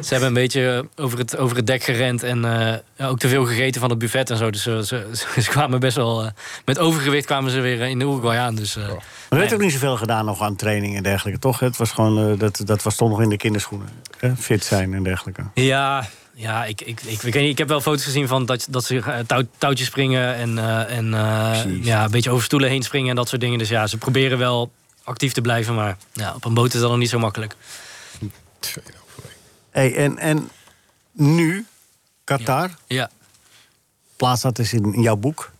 ze hebben een beetje eh, over het, over het dek gerend en eh, ja, ook te veel gegeten van het buffet en zo. Dus eh, ze, ze, ze kwamen best wel... eh, met overgewicht kwamen ze weer eh, in de Uruguay aan. Dus, eh,
Er werd ook niet zoveel gedaan nog aan training en dergelijke, toch? Het was gewoon, eh, dat, dat was toch nog in de kinderschoenen. Hè? Fit zijn en dergelijke.
Ja, ja ik, ik, ik, ik, weet niet, ik heb wel foto's gezien van dat, dat ze eh, touw, touwtjes springen en, eh, en eh, ja, een beetje over stoelen heen springen en dat soort dingen. Dus ja, ze proberen wel actief te blijven, maar ja, op een boot is dat nog niet zo makkelijk.
Hey, en, en nu, Qatar,
Ja.
plaats dat is in jouw boek.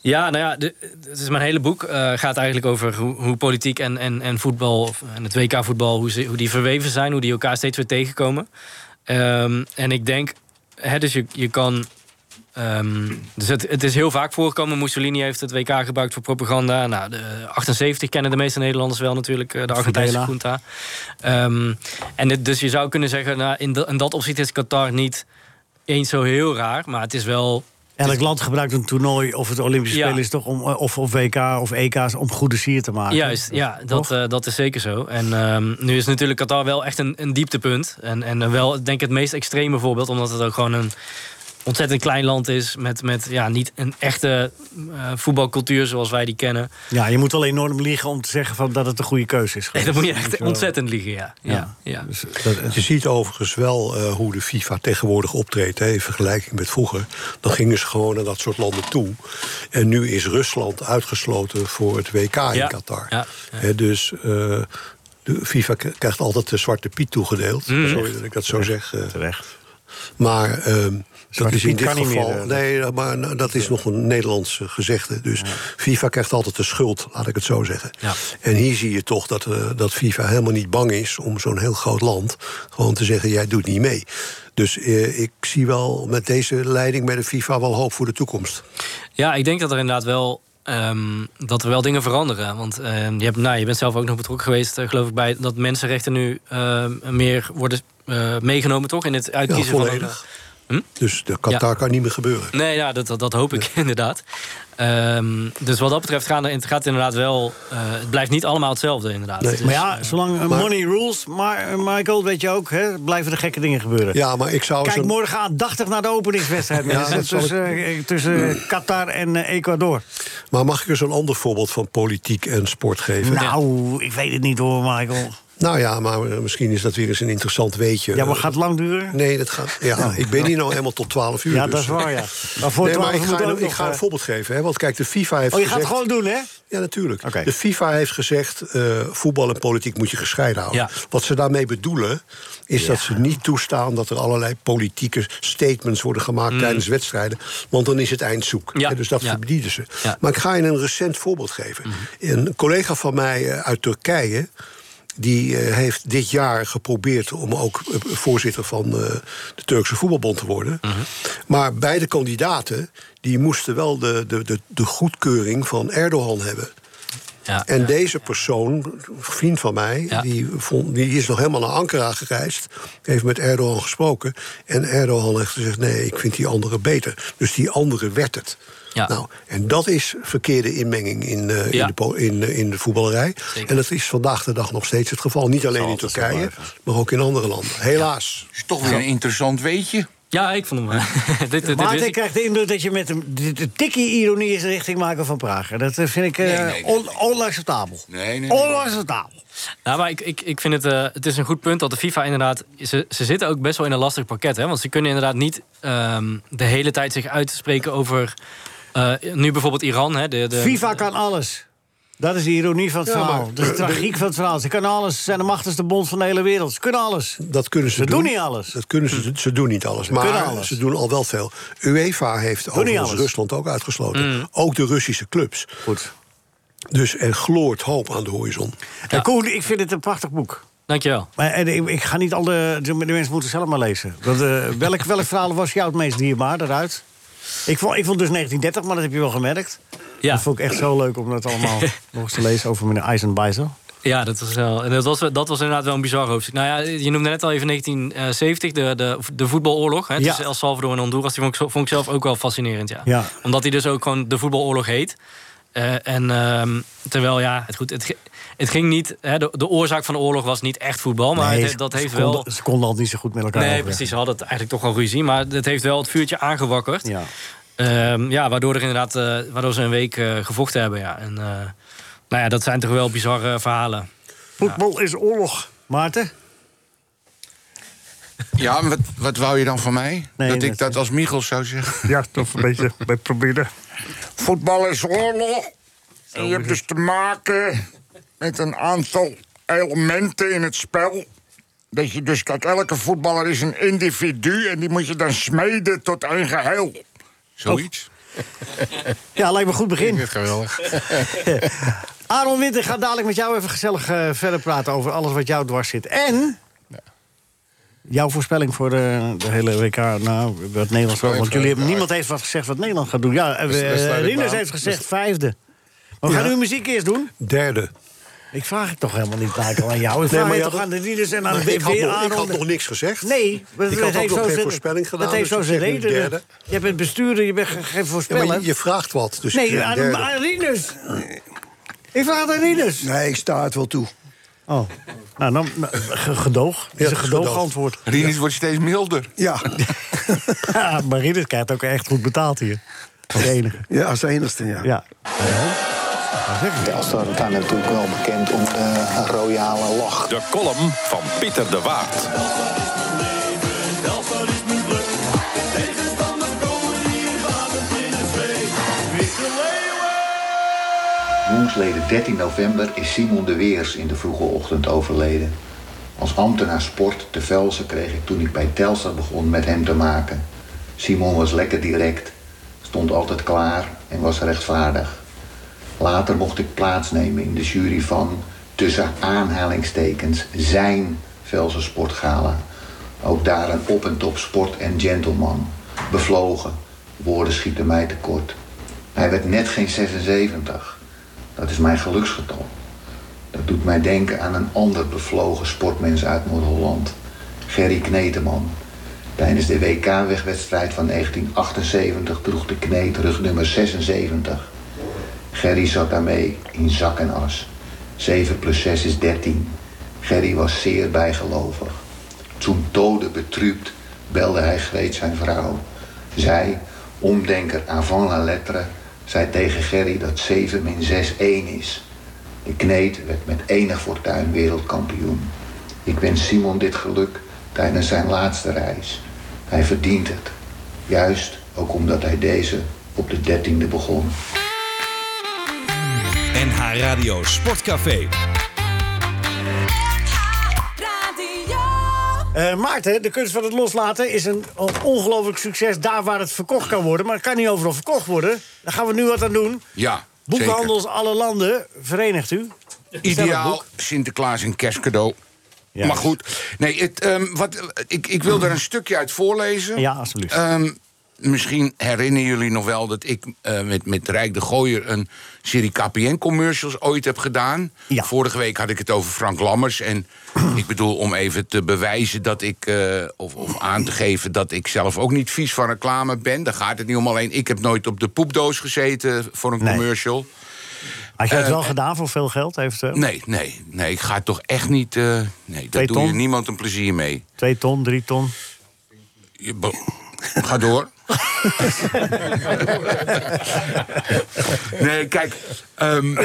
Ja, nou ja, de- het is mijn hele boek. eh gaat eigenlijk over hoe, hoe politiek en, en, en voetbal, of- en het WK-voetbal, hoe, ze- hoe die verweven zijn, hoe die elkaar steeds weer tegenkomen. Ehm, en ik denk, hè, dus je, je kan. ehm, dus het, het is heel vaak voorgekomen. Mussolini heeft het WK gebruikt voor propaganda. Nou, de 78 kennen de meeste Nederlanders wel natuurlijk, eh, de Argentijnse junta. Ehm, en dit- dus je zou kunnen zeggen, nou, in, dat- in dat opzicht is Qatar niet eens zo heel raar, maar het is wel
Elk land gebruikt een toernooi of het Olympische
Ja.
Spelen is toch om, eh, of, of WK of EK's om goede sier te maken.
Juist, ja, dat,
Toch?
eh, dat is zeker zo. En ehm, nu is natuurlijk Qatar wel echt een, een dieptepunt. En, en wel, ik denk het meest extreme voorbeeld, omdat het ook gewoon een ontzettend klein land is. Met, met ja, niet een echte eh, voetbalcultuur zoals wij die kennen.
ja, je moet wel enorm liegen om te zeggen van dat het de goede keuze is.
En
geweest.
dan moet je echt
wel.
ontzettend liegen, ja. ja. ja.
Dus dat, eh,
Je ziet overigens wel eh, hoe de FIFA tegenwoordig optreedt. Hè, in vergelijking met vroeger. Dan gingen ze gewoon naar dat soort landen toe. En nu is Rusland uitgesloten voor het WK
Ja,
in Qatar.
ja, ja.
Hè, dus eh, de FIFA k- krijgt altijd de zwarte piet toegedeeld.
Mm.
Sorry dat ik dat zo zeg. eh.
terecht.
Maar ehm, dat
Zwarte
is in
Piet
dit
kan niet
geval.
meer, eh,
nee, maar nou, dat is nog een Nederlandse gezegde. Dus FIFA krijgt altijd de schuld, laat ik het zo zeggen.
Ja.
En hier zie je toch dat, eh, dat FIFA helemaal niet bang is om zo'n heel groot land gewoon te zeggen: jij doet niet mee. Dus eh, ik zie wel met deze leiding bij de FIFA wel hoop voor de toekomst.
Ja, ik denk dat er inderdaad wel, ehm, dat er wel dingen veranderen. Want ehm, je, hebt, nou, je bent zelf ook nog betrokken geweest, eh, geloof ik, bij dat mensenrechten nu ehm, meer worden eh, meegenomen, toch? In het
Ja,
uitkiezen van. een-
volledig. Dus de Qatar kan niet meer gebeuren.
Nee, ja, dat, dat, dat hoop ik inderdaad. Ehm, dus wat dat betreft gaan, er- het gaat inderdaad wel... eh, het blijft niet allemaal hetzelfde inderdaad.
Nee.
Dus-
Maar ja, zolang eh,
maar-
money rules, maar eh, Michael, weet je ook, hè, blijven er gekke dingen gebeuren.
Ja, maar ik zou
Kijk
zo'n-
morgen aandachtig naar de openingswedstrijd.
Ja,
mensen,
dat zal ik-
tussen, eh, tussen eh, Qatar en eh, Ecuador.
Maar mag ik eens een ander voorbeeld van politiek en sport geven?
Nou, ik weet het niet hoor, Michael.
Nou ja, maar eh, misschien is dat weer eens een interessant weetje.
Ja, maar gaat het lang duren?
Nee, dat gaat. Ja, ik ben hier nou helemaal tot 12 uur.
Ja,
dus.
dat is waar, ja. Maar voor
nee, maar
12
ik
moet
ga,
ook
ik
nog,
ga
eh,
een voorbeeld geven. Hè, want kijk, de FIFA heeft.
Oh, je gaat het
gezegd-
gewoon doen, hè?
Ja, natuurlijk.
Oké.
De FIFA heeft gezegd. eh, voetbal en politiek moet je gescheiden houden.
Ja.
Wat ze daarmee bedoelen. is dat ze niet toestaan dat er allerlei politieke statements worden gemaakt tijdens wedstrijden. Want dan is het eindzoek.
Mm. Ja,
Hè, dus dat
ja.
verbieden ze.
Ja. Mhm.
Maar ik ga je een recent voorbeeld geven. Een collega van mij eh, uit Turkije. Die eh, heeft dit jaar geprobeerd om ook eh, voorzitter van eh, de Turkse voetbalbond te worden.
Mhm.
Maar beide kandidaten die moesten wel de, de, de, de goedkeuring van Erdogan hebben.
ja,
En deze persoon, een vriend van mij,
Ja.
die, vond, die is nog helemaal naar Ankara gereisd. Heeft met Erdogan gesproken. En Erdogan heeft gezegd: nee, ik vind die andere beter. Dus die andere werd het.
Ja.
Nou, en dat is verkeerde inmenging in, eh,
Ja.
in, de, po- in, eh, in de voetballerij.
Zeker.
En dat is vandaag de dag nog steeds het geval. Niet alleen in Turkije, maar ook in andere landen. Helaas.
Is toch weer een interessant weetje.
ja, ik vond hem... eh, dit, dit, dit wist
Maarten
ik.
krijgt de indruk dat je met een de, de tikkie ironie is richting Michael van Pragen. Dat eh, vind ik eh,
Nee, nee, nee,
on-
nee.
onacceptabel.
Nee, nee, nee.
Onacceptabel.
Nou, maar ik, ik, ik vind het, eh, het is een goed punt dat de FIFA inderdaad... Ze, ze zitten ook best wel in een lastig pakket. Hè? Want ze kunnen inderdaad niet ehm, de hele tijd zich uitspreken over... eh, nu bijvoorbeeld Iran. Hè, de, de,
FIFA kan alles. Dat is de ironie van het
Ja,
verhaal.
maar-
Dat is de tragiek van het verhaal. Ze kunnen alles. Ze zijn de machtigste bond van de hele wereld. Ze kunnen alles.
Dat kunnen ze
Ze doen
doen
niet alles.
Dat kunnen
Hm.
ze, ze doen niet alles. Maar
kunnen alles.
ze doen al wel veel. UEFA heeft overigens
alles.
Rusland ook uitgesloten.
Hm.
Ook de Russische clubs.
Goed.
Dus er gloort hoop aan de horizon.
Eh, Koen, ik vind het een prachtig boek.
Dankjewel.
Maar eh, ik, ik ga niet al de, de, de mensen moeten zelf maar lezen. Dat, eh, welk, welk verhaal was jou het meest dierbaar daaruit? Ik vond, ik vond dus 1930, maar dat heb je wel gemerkt.
Ja,
Dat vond ik echt zo leuk om dat allemaal nog eens te lezen over meneer Eisenbeiser.
ja dat, was wel, en dat, was, dat was inderdaad wel een bizar hoofdstuk. Nou ja, je noemde net al even 1970, de, de, de voetbaloorlog hè, tussen
Ja.
El Salvador en Honduras. Die vond ik, zo- vond ik zelf ook wel fascinerend, ja.
Ja.
Omdat hij dus ook gewoon de voetbaloorlog heet. Eh, en ehm, terwijl, ja, het, goed, het, ge- het ging niet... Hè, de, de oorzaak van de oorlog was niet echt voetbal, maar
Nee,
het-
ze-
dat
ze
heeft
konden-
wel...
Ze konden al niet zo goed met elkaar
Nee,
overweg.
precies, ze hadden het eigenlijk toch wel ruzie. Maar het heeft wel het vuurtje aangewakkerd.
Ja.
Ehm, ja, waardoor, er inderdaad, eh, waardoor ze een week eh, gevochten hebben. Ja. En, eh, nou ja, dat zijn toch wel bizarre verhalen.
Voetbal is oorlog. Maarten?
Ja, maar wat, wat wou je dan van mij?
Nee,
dat ik
dat-
dat als Michels zou zeggen.
Ja, toch een beetje bij proberen.
Voetbal is oorlog. En je hebt dus te maken met een aantal elementen in het spel. Dat je dus, kijk, elke voetballer is een individu en die moet je dan smeden tot een geheel. Zoiets?
Ja, lijkt me een goed
Ik
begin.
vind het geweldig.
Aaron Winter gaat dadelijk met jou even gezellig eh, verder praten over alles wat jou dwars zit. En jouw voorspelling voor de, de hele WK, nou, wat Nederland wel. Want jullie hebben, niemand heeft wat gezegd wat Nederland gaat doen. Ja, eh,
Dus- dus sluit ik
Rinus
aan.
heeft gezegd vijfde. Maar we gaan nu muziek eerst doen.
Derde.
Ik vraag het toch helemaal niet, Michael, aan jou. Ik vraag
maar
het
ja,
toch
dat-
aan de Rinus en aan
Maar
de
ik, had nog, ik
Aaron.
had nog niks gezegd.
Nee, maar
Ik
dat
had ook
heeft
nog
zo
geen
zin-
voorspelling gedaan,
Dat heeft
dus
zo
ik
zijn
zeg nu
reden.
derde.
Je bent bestuurder, je bent ge- geen
Ja, maar
voorspeller.
je, je vraagt wat. Dus ik
Nee, eh,
zeg
aan,
derde.
aan Rinus. Ik vraag het aan Rinus.
Nee, ik sta het wel toe.
Oh, nou, dan nou, ge- gedoog. Dat
Ja,
is een
het is
gedoog
gedoog.
antwoord.
Rinus wordt steeds milder.
Ja,
Ja, maar Rinus krijgt ook echt goed betaald hier. Als enige.
ja als enigste, ja.
Ja.
Telstar staan natuurlijk wel bekend om de royale lach.
De column van Pieter de Waard.
Woenstleden 13 november is Simon de Weers in de vroege ochtend overleden. Als ambtenaar sport te Velsen kreeg ik toen ik bij Telstar begon met hem te maken. Simon was lekker direct, stond altijd klaar en was rechtvaardig. Later mocht ik plaatsnemen in de jury van, tussen aanhalingstekens, zijn Velsen Sportgala. Ook daar een op en top sport en gentleman. Bevlogen, woorden schieten mij tekort. Hij werd net geen 76. Dat is mijn geluksgetal. Dat doet mij denken aan een ander bevlogen sportmens uit Noord-Holland, Gerry Kneteman. Tijdens de WK-wegwedstrijd van 1978 droeg de Kneet rug nummer 76. Gerry zat daarmee in zak en as. 7 plus 6 is 13. Gerry was zeer bijgelovig. Toen dode betrübt belde hij Greet zijn vrouw. Zij, omdenker avant la lettre, zei tegen Gerry dat 7 min 6 1 is. De kneed werd met enig fortuin wereldkampioen. Ik wens Simon dit geluk tijdens zijn laatste reis. Hij verdient het. Juist ook omdat hij deze op de 13e begon.
NH Radio Sportcafé.
Eh, Maarten, de kunst van het loslaten is een ongelooflijk succes daar waar het verkocht kan worden. Maar het kan niet overal verkocht worden. Daar gaan we nu wat aan doen.
Ja,
Boekhandels alle landen, verenigt u. Bestel het
Ideaal
boek.
Sinterklaas en kerstcadeau.
Ja.
Maar goed, nee, het, ehm, wat, ik, ik wil er een stukje uit voorlezen.
Ja, alsjeblieft.
Ehm, misschien herinneren jullie nog wel dat ik eh, met, met Rijk de Gooier... een serie KPN-commercials ooit heb gedaan.
Ja.
Vorige week had ik het over Frank Lammers. En ik bedoel, om even te bewijzen dat ik... eh, of, of aan te geven dat ik zelf ook niet vies van reclame ben. Daar gaat het niet om. Alleen, ik heb nooit op de poepdoos gezeten voor een
Nee.
commercial.
Had jij het wel gedaan voor veel geld? Heeft eh,
Eh, Nee, nee, nee, ik ga het toch echt niet... eh, nee, daar
Twee
doe je
ton?
niemand een plezier mee.
twee ton, drie ton.
Je bo- Ga door. nee, kijk. ehm,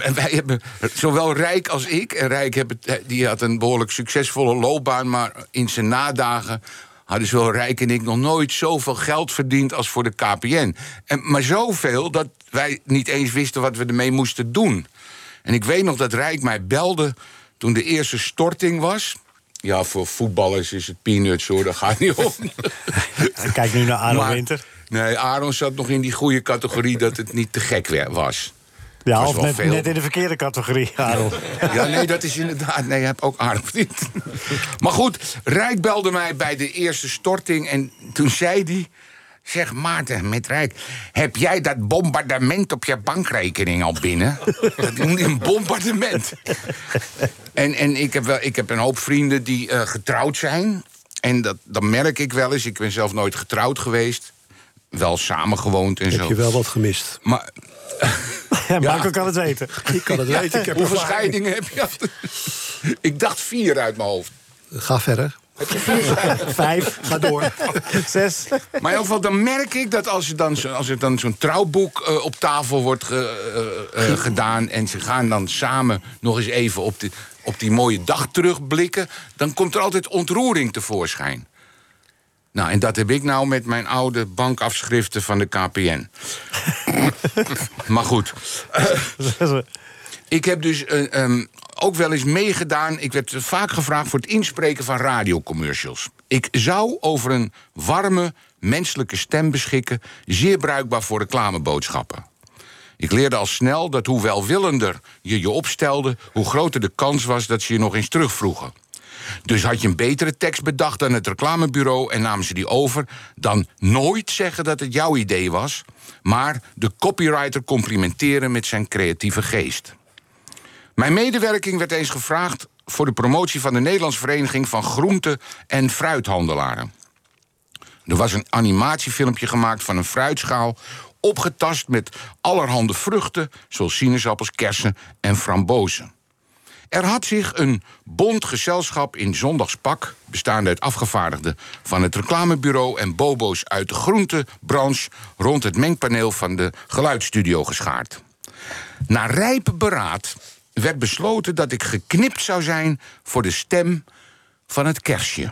en wij hebben zowel Rijk als ik. En Rijk heb het- die had een behoorlijk succesvolle loopbaan. Maar in zijn nadagen hadden zowel Rijk en ik nog nooit zoveel geld verdiend als voor de KPN. En, maar zoveel dat wij niet eens wisten wat we ermee moesten doen. En ik weet nog dat Rijk mij belde toen de eerste storting was. Ja, voor voetballers is het peanuts hoor, daar gaat niet om.
Ik kijk nu naar Aaron
Maar-
Winter.
Nee, Aaron zat nog in die goede categorie dat het niet te gek weer was.
Ja,
was
of
wel
net,
veel.
net in de verkeerde categorie, Aaron.
Ja, nee, dat is inderdaad. Nee, je hebt ook Aaron verdiend. Maar goed, Rijk belde mij bij de eerste storting en toen zei hij. Zeg Maarten, met Rijk, heb jij dat bombardement op je bankrekening al binnen? Dat noemde hij een bombardement. En, en ik, heb wel, ik heb een hoop vrienden die eh, getrouwd zijn. En dat, dat merk ik wel eens. Ik ben zelf nooit getrouwd geweest. Wel samengewoond en
Heb
zo.
je wel wat gemist.
Maar
Ja, Marco kan het weten.
Ik kan het weten, ik heb
Hoeveel
ervaring.
scheidingen heb je? achter- ik dacht vier uit mijn hoofd.
Ga verder.
Vijf,
Ga door.
zes.
Eh, Maar in elk geval, dan merk ik dat als er dan, zo- als er dan zo'n trouwboek eh, op tafel wordt ge- eh, eh, gedaan... en ze gaan dan samen nog eens even op, die- op die mooie dag terugblikken... dan komt er altijd ontroering tevoorschijn. Nou, en dat heb ik nou met mijn oude bankafschriften van de KPN. maar goed, ik heb dus eh, ehm, ook wel eens meegedaan. Ik werd vaak gevraagd voor het inspreken van radiocommercials. Ik zou over een warme, menselijke stem beschikken, zeer bruikbaar voor reclameboodschappen. Ik leerde al snel dat hoe welwillender je je opstelde, hoe groter de kans was dat ze je nog eens terugvroegen. Dus had je een betere tekst bedacht dan het reclamebureau en namen ze die over, dan nooit zeggen dat het jouw idee was, maar de copywriter complimenteren met zijn creatieve geest. Mijn medewerking werd eens gevraagd voor de promotie van de Nederlandse Vereniging van Groente- en Fruithandelaren. Er was een animatiefilmpje gemaakt van een fruitschaal, opgetast met allerhande vruchten, zoals sinaasappels, kersen en frambozen. Er had zich een bond gezelschap in zondagspak, bestaande uit afgevaardigden van het reclamebureau en bobo's uit de groentebranche, rond het mengpaneel van de geluidsstudio geschaard. Na rijpe beraad werd besloten dat ik geknipt zou zijn voor de stem van het kerstje.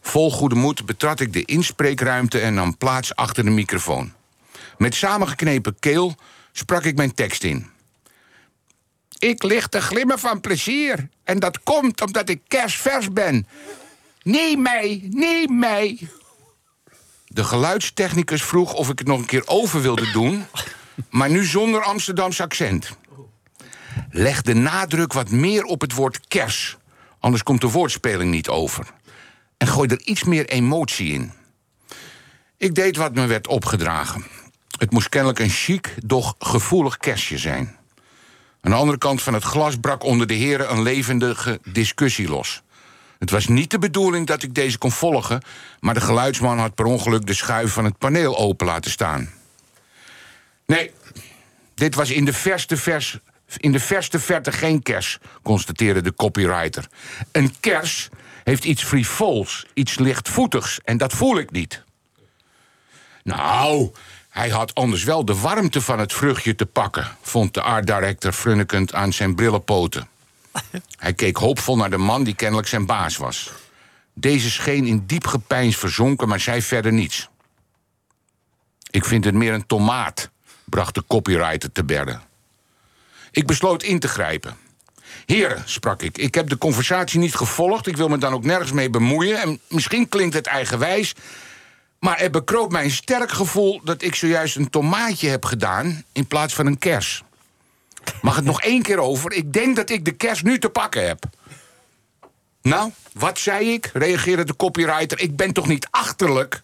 Vol goede moed betrad ik de inspreekruimte en nam plaats achter de microfoon. Met samengeknepen keel sprak ik mijn tekst in. Ik lig te glimmen van plezier en dat komt omdat ik kerstvers ben. Neem mij, neem mij. De geluidstechnicus vroeg of ik het nog een keer over wilde doen, maar nu zonder Amsterdams accent. Leg de nadruk wat meer op het woord kers, anders komt de woordspeling niet over. En gooi er iets meer emotie in. Ik deed wat me werd opgedragen. Het moest kennelijk een chic, doch gevoelig kerstje zijn. Aan de andere kant van het glas brak onder de heren een levendige discussie los. Het was niet de bedoeling dat ik deze kon volgen, maar de geluidsman had per ongeluk de schuif van het paneel open laten staan. Nee, dit was in de verste vers. In de verste verte geen kers, constateerde de copywriter. Een kers heeft iets frivols, iets lichtvoetigs, en dat voel ik niet. Nou, hij had anders wel de warmte van het vruchtje te pakken, vond de art director frunnekend aan zijn brillenpoten. Hij keek hoopvol naar de man die kennelijk zijn baas was. Deze scheen in diep gepeins verzonken, maar zei verder niets. Ik vind het meer een tomaat, bracht de copywriter te berden. Ik besloot in te grijpen. Heren, sprak ik, ik heb de conversatie niet gevolgd. Ik wil me dan ook nergens mee bemoeien. En misschien klinkt het eigenwijs. Maar er bekroopt mij een sterk gevoel dat ik zojuist een tomaatje heb gedaan in plaats van een kers. Mag het nog één keer over? Ik denk dat ik de kers nu te pakken heb. Nou, wat zei ik? reageerde de copywriter. Ik ben toch niet achterlijk?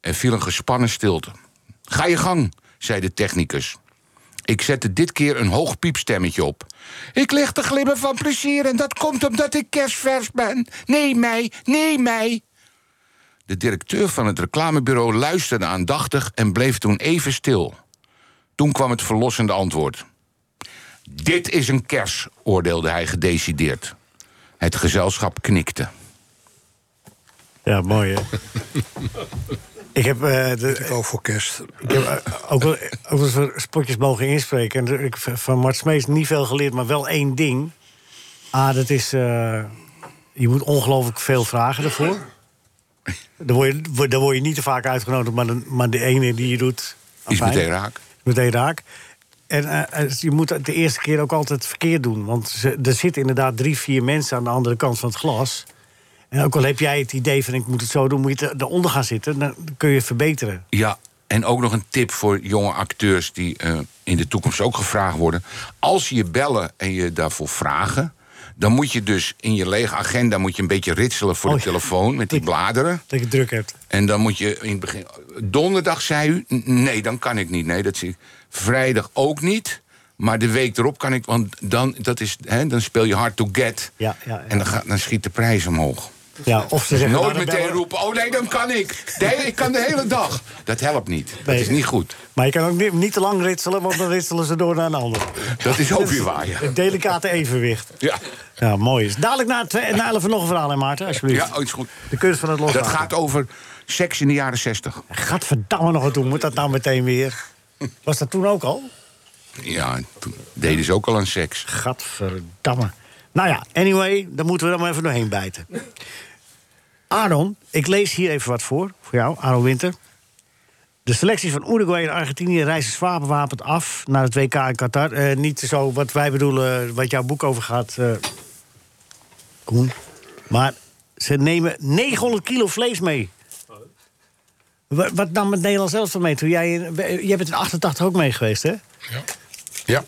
Er viel een gespannen stilte. Ga je gang, zei de technicus. Ik zette dit keer een hoog piepstemmetje op. Ik lig te glimmen van plezier en dat komt omdat ik kerstvers ben. Neem mij, neem mij. De directeur van het reclamebureau luisterde aandachtig en bleef toen even stil. Toen kwam het verlossende antwoord. Dit is een kers, oordeelde hij gedecideerd. Het gezelschap knikte.
Ja, mooi hè. ik heb, eh, de,
Ik ook voor kerst.
ik heb eh, ook, wel, ook wel eens wat spotjes mogen inspreken. En er- ik heb van Mart Smees niet veel geleerd, maar wel één ding. Ah, dat is... eh, je moet ongelooflijk veel vragen ervoor. Daar word je, daar word je niet te vaak uitgenodigd, maar de, maar de ene die je doet...
Is
afijn.
meteen raak.
meteen raak. En eh, eh, je moet het de eerste keer ook altijd verkeerd doen. Want ze- er zitten inderdaad drie, vier mensen aan de andere kant van het glas. En ook al heb jij het idee van ik moet het zo doen, moet je er- eronder gaan zitten. Dan kun je het verbeteren.
Ja, en ook nog een tip voor jonge acteurs die eh, in de toekomst ook gevraagd worden. Als ze je bellen en je daarvoor vragen, dan moet je dus in je lege agenda moet je een beetje ritselen voor
Oh
de
ja.
telefoon met die bladeren.
Dat je het druk hebt.
En dan moet je in het begin. Donderdag zei u. "N- Nee, dan kan ik niet. Nee, dat zie ik. Vrijdag ook niet. Maar de week erop kan ik. Want dan, dat is, hè, dan speel je hard to get.
Ja, ja, ja.
En dan, gaat, dan schiet de prijs omhoog.
Ja, of ze zeggen...
Nooit
nou, dan
meteen
bellen we-
roepen, oh nee, dan kan ik. Nee, ik kan de hele dag. Dat helpt niet. Dat
Nee.
is niet goed.
Maar je kan ook niet, niet te lang ritselen, want dan ritselen ze door naar een ander. Dus
Dat is ook weer waar, ja.
Het delicate evenwicht.
Ja,
Ja, mooi is. Dadelijk na, twee, na 11 nog een verhaal, hè, Maarten, alsjeblieft.
ja oh, is goed.
De kunst van het loslaten.
Dat gaat over seks in de jaren zestig.
Gadverdamme nog wat doen, moet dat nou meteen weer? Was dat toen ook al?
Ja, toen deden ze ook al aan seks.
Gadverdamme. Nou ja, anyway, daar moeten we dan maar even doorheen bijten. Aaron, ik lees hier even wat voor, voor jou, Aaron Winter. De selecties van Uruguay en Argentinië reizen zwaar bewapend af naar het WK in Qatar. Eh, niet zo wat wij bedoelen, wat jouw boek over gaat, eh, Koen. Maar ze nemen 900 kilo vlees mee. Wa- Wat nam het Nederlands elftal mee? Toen jij, in- jij bent in 88 ook mee geweest, hè?
Ja. ja.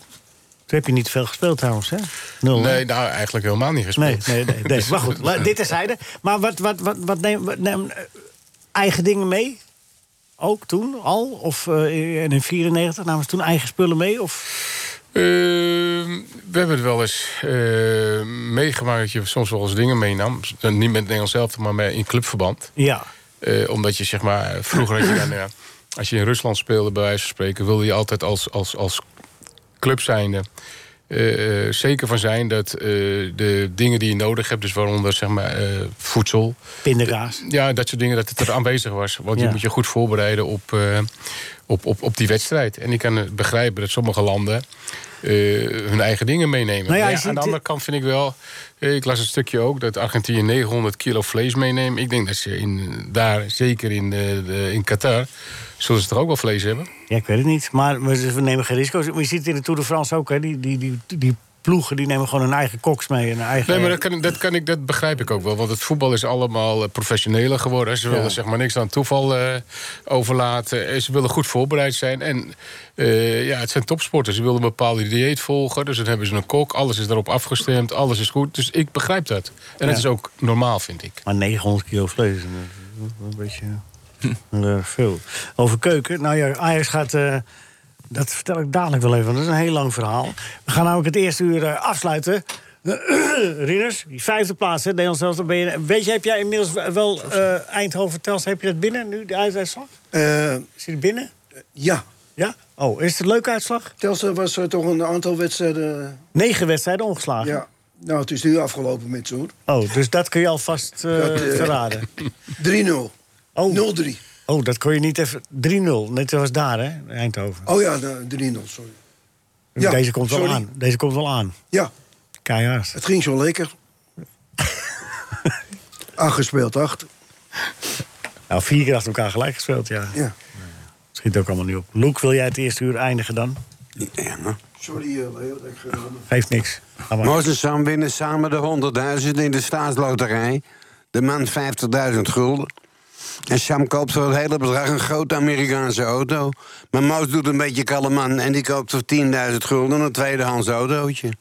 Toen heb je niet veel gespeeld trouwens, hè? Nul, hè?
Nee, nou eigenlijk helemaal niet gespeeld. Dus-
Nee, nee, nee. nee. Maar goed, la- dit terzijde. Maar wat, wat, wat, wat neem, wat neem- eh, eigen dingen mee? Ook toen al? Of eh, en in 94 namen ze toen eigen spullen mee? Of
Ehm, we hebben het wel eens eh, meegemaakt dat je soms wel eens dingen meenam. Eh, Niet met Nederland zelf, maar met- in clubverband.
ja,
Eh, omdat je zeg maar, eh, vroeger had je dan, eh, als je in Rusland speelde, bij wijze van spreken, wilde je altijd als, als, als club zijnde eh, eh, zeker van zijn dat eh, de dingen die je nodig hebt, dus waaronder zeg maar, eh, voedsel,
pindakaas?
ja, dat soort dingen, dat het er aanwezig was. Want
Ja.
je moet je goed voorbereiden op, eh, op, op, op die wedstrijd. En ik kan het begrijpen dat sommige landen eh, hun eigen dingen meenemen.
Nou
Maar
ja, je
ja, aan
ziet-
de andere kant vind ik wel... eh, Ik las een stukje ook dat Argentinië 900 kilo vlees meeneemt. Ik denk dat ze in, daar, zeker in, de, de- in Qatar... zullen ze toch ook wel vlees hebben?
Ja, ik weet het niet. Maar we, we nemen geen risico's. Maar je ziet het in de Tour de France ook, hè? Die, die, die, die ploegen die nemen gewoon hun eigen koks mee. En hun eigen...
Nee, maar dat, kan, dat, kan ik, dat begrijp ik ook wel. Want het voetbal is allemaal eh, professioneler geworden. Ze willen
Ja.
zeg maar niks aan toeval eh, overlaten. Eh, Ze willen goed voorbereid zijn. En eh, ja, het zijn topsporters. Ze willen een bepaalde dieet volgen. Dus dan hebben ze een kok. Alles is daarop afgestemd. Alles is goed. Dus ik begrijp dat. En dat
Ja.
is ook normaal, vind ik.
Maar 900 kilo vlees. eh, Een beetje eh, veel. Over keuken. Nou ja, Ajax gaat. eh, dat vertel ik dadelijk wel even, want dat is een heel lang verhaal. We gaan namelijk het eerste uur eh, afsluiten. Rieners, die vijfde plaats, hè, Nederlands zelfs. Ben je, weet je, heb jij inmiddels wel eh, Eindhoven Tels, heb je dat binnen nu, de uitslag?
Eh,
Is die er binnen?
ja,
Ja? Oh, is het een leuke uitslag?
Telstra was er toch een aantal wedstrijden.
Negen wedstrijden ongeslagen.
Ja. Nou, het is nu afgelopen met zo'n
Oh, dus dat kun je alvast eh,
Dat, eh,
verraden.
3-0.
Oh.
0-3.
Oh, dat kon je niet even... 3-0, net zoals daar, hè, Eindhoven.
Oh ja, nou, 3-0, sorry. Ja,
Deze komt wel
sorry.
aan. Deze komt wel aan.
Ja,
Keihard.
het ging zo lekker. Acht gespeeld, acht.
Nou, vier keer achter elkaar gelijk gespeeld, ja.
Ja.
Schiet ook allemaal niet op. Luke, wil jij het eerste uur eindigen dan?
Sorry, eh, Leo, dat ik genomen.
Geeft niks. Ga maar.
Mozes Sam winnen samen de 100.000 in de staatsloterij. De man 50.000 gulden. En Sam koopt voor het hele bedrag een grote Amerikaanse auto. Maar Moos doet een beetje kalm aan en die koopt voor 10.000 gulden een tweedehands autootje.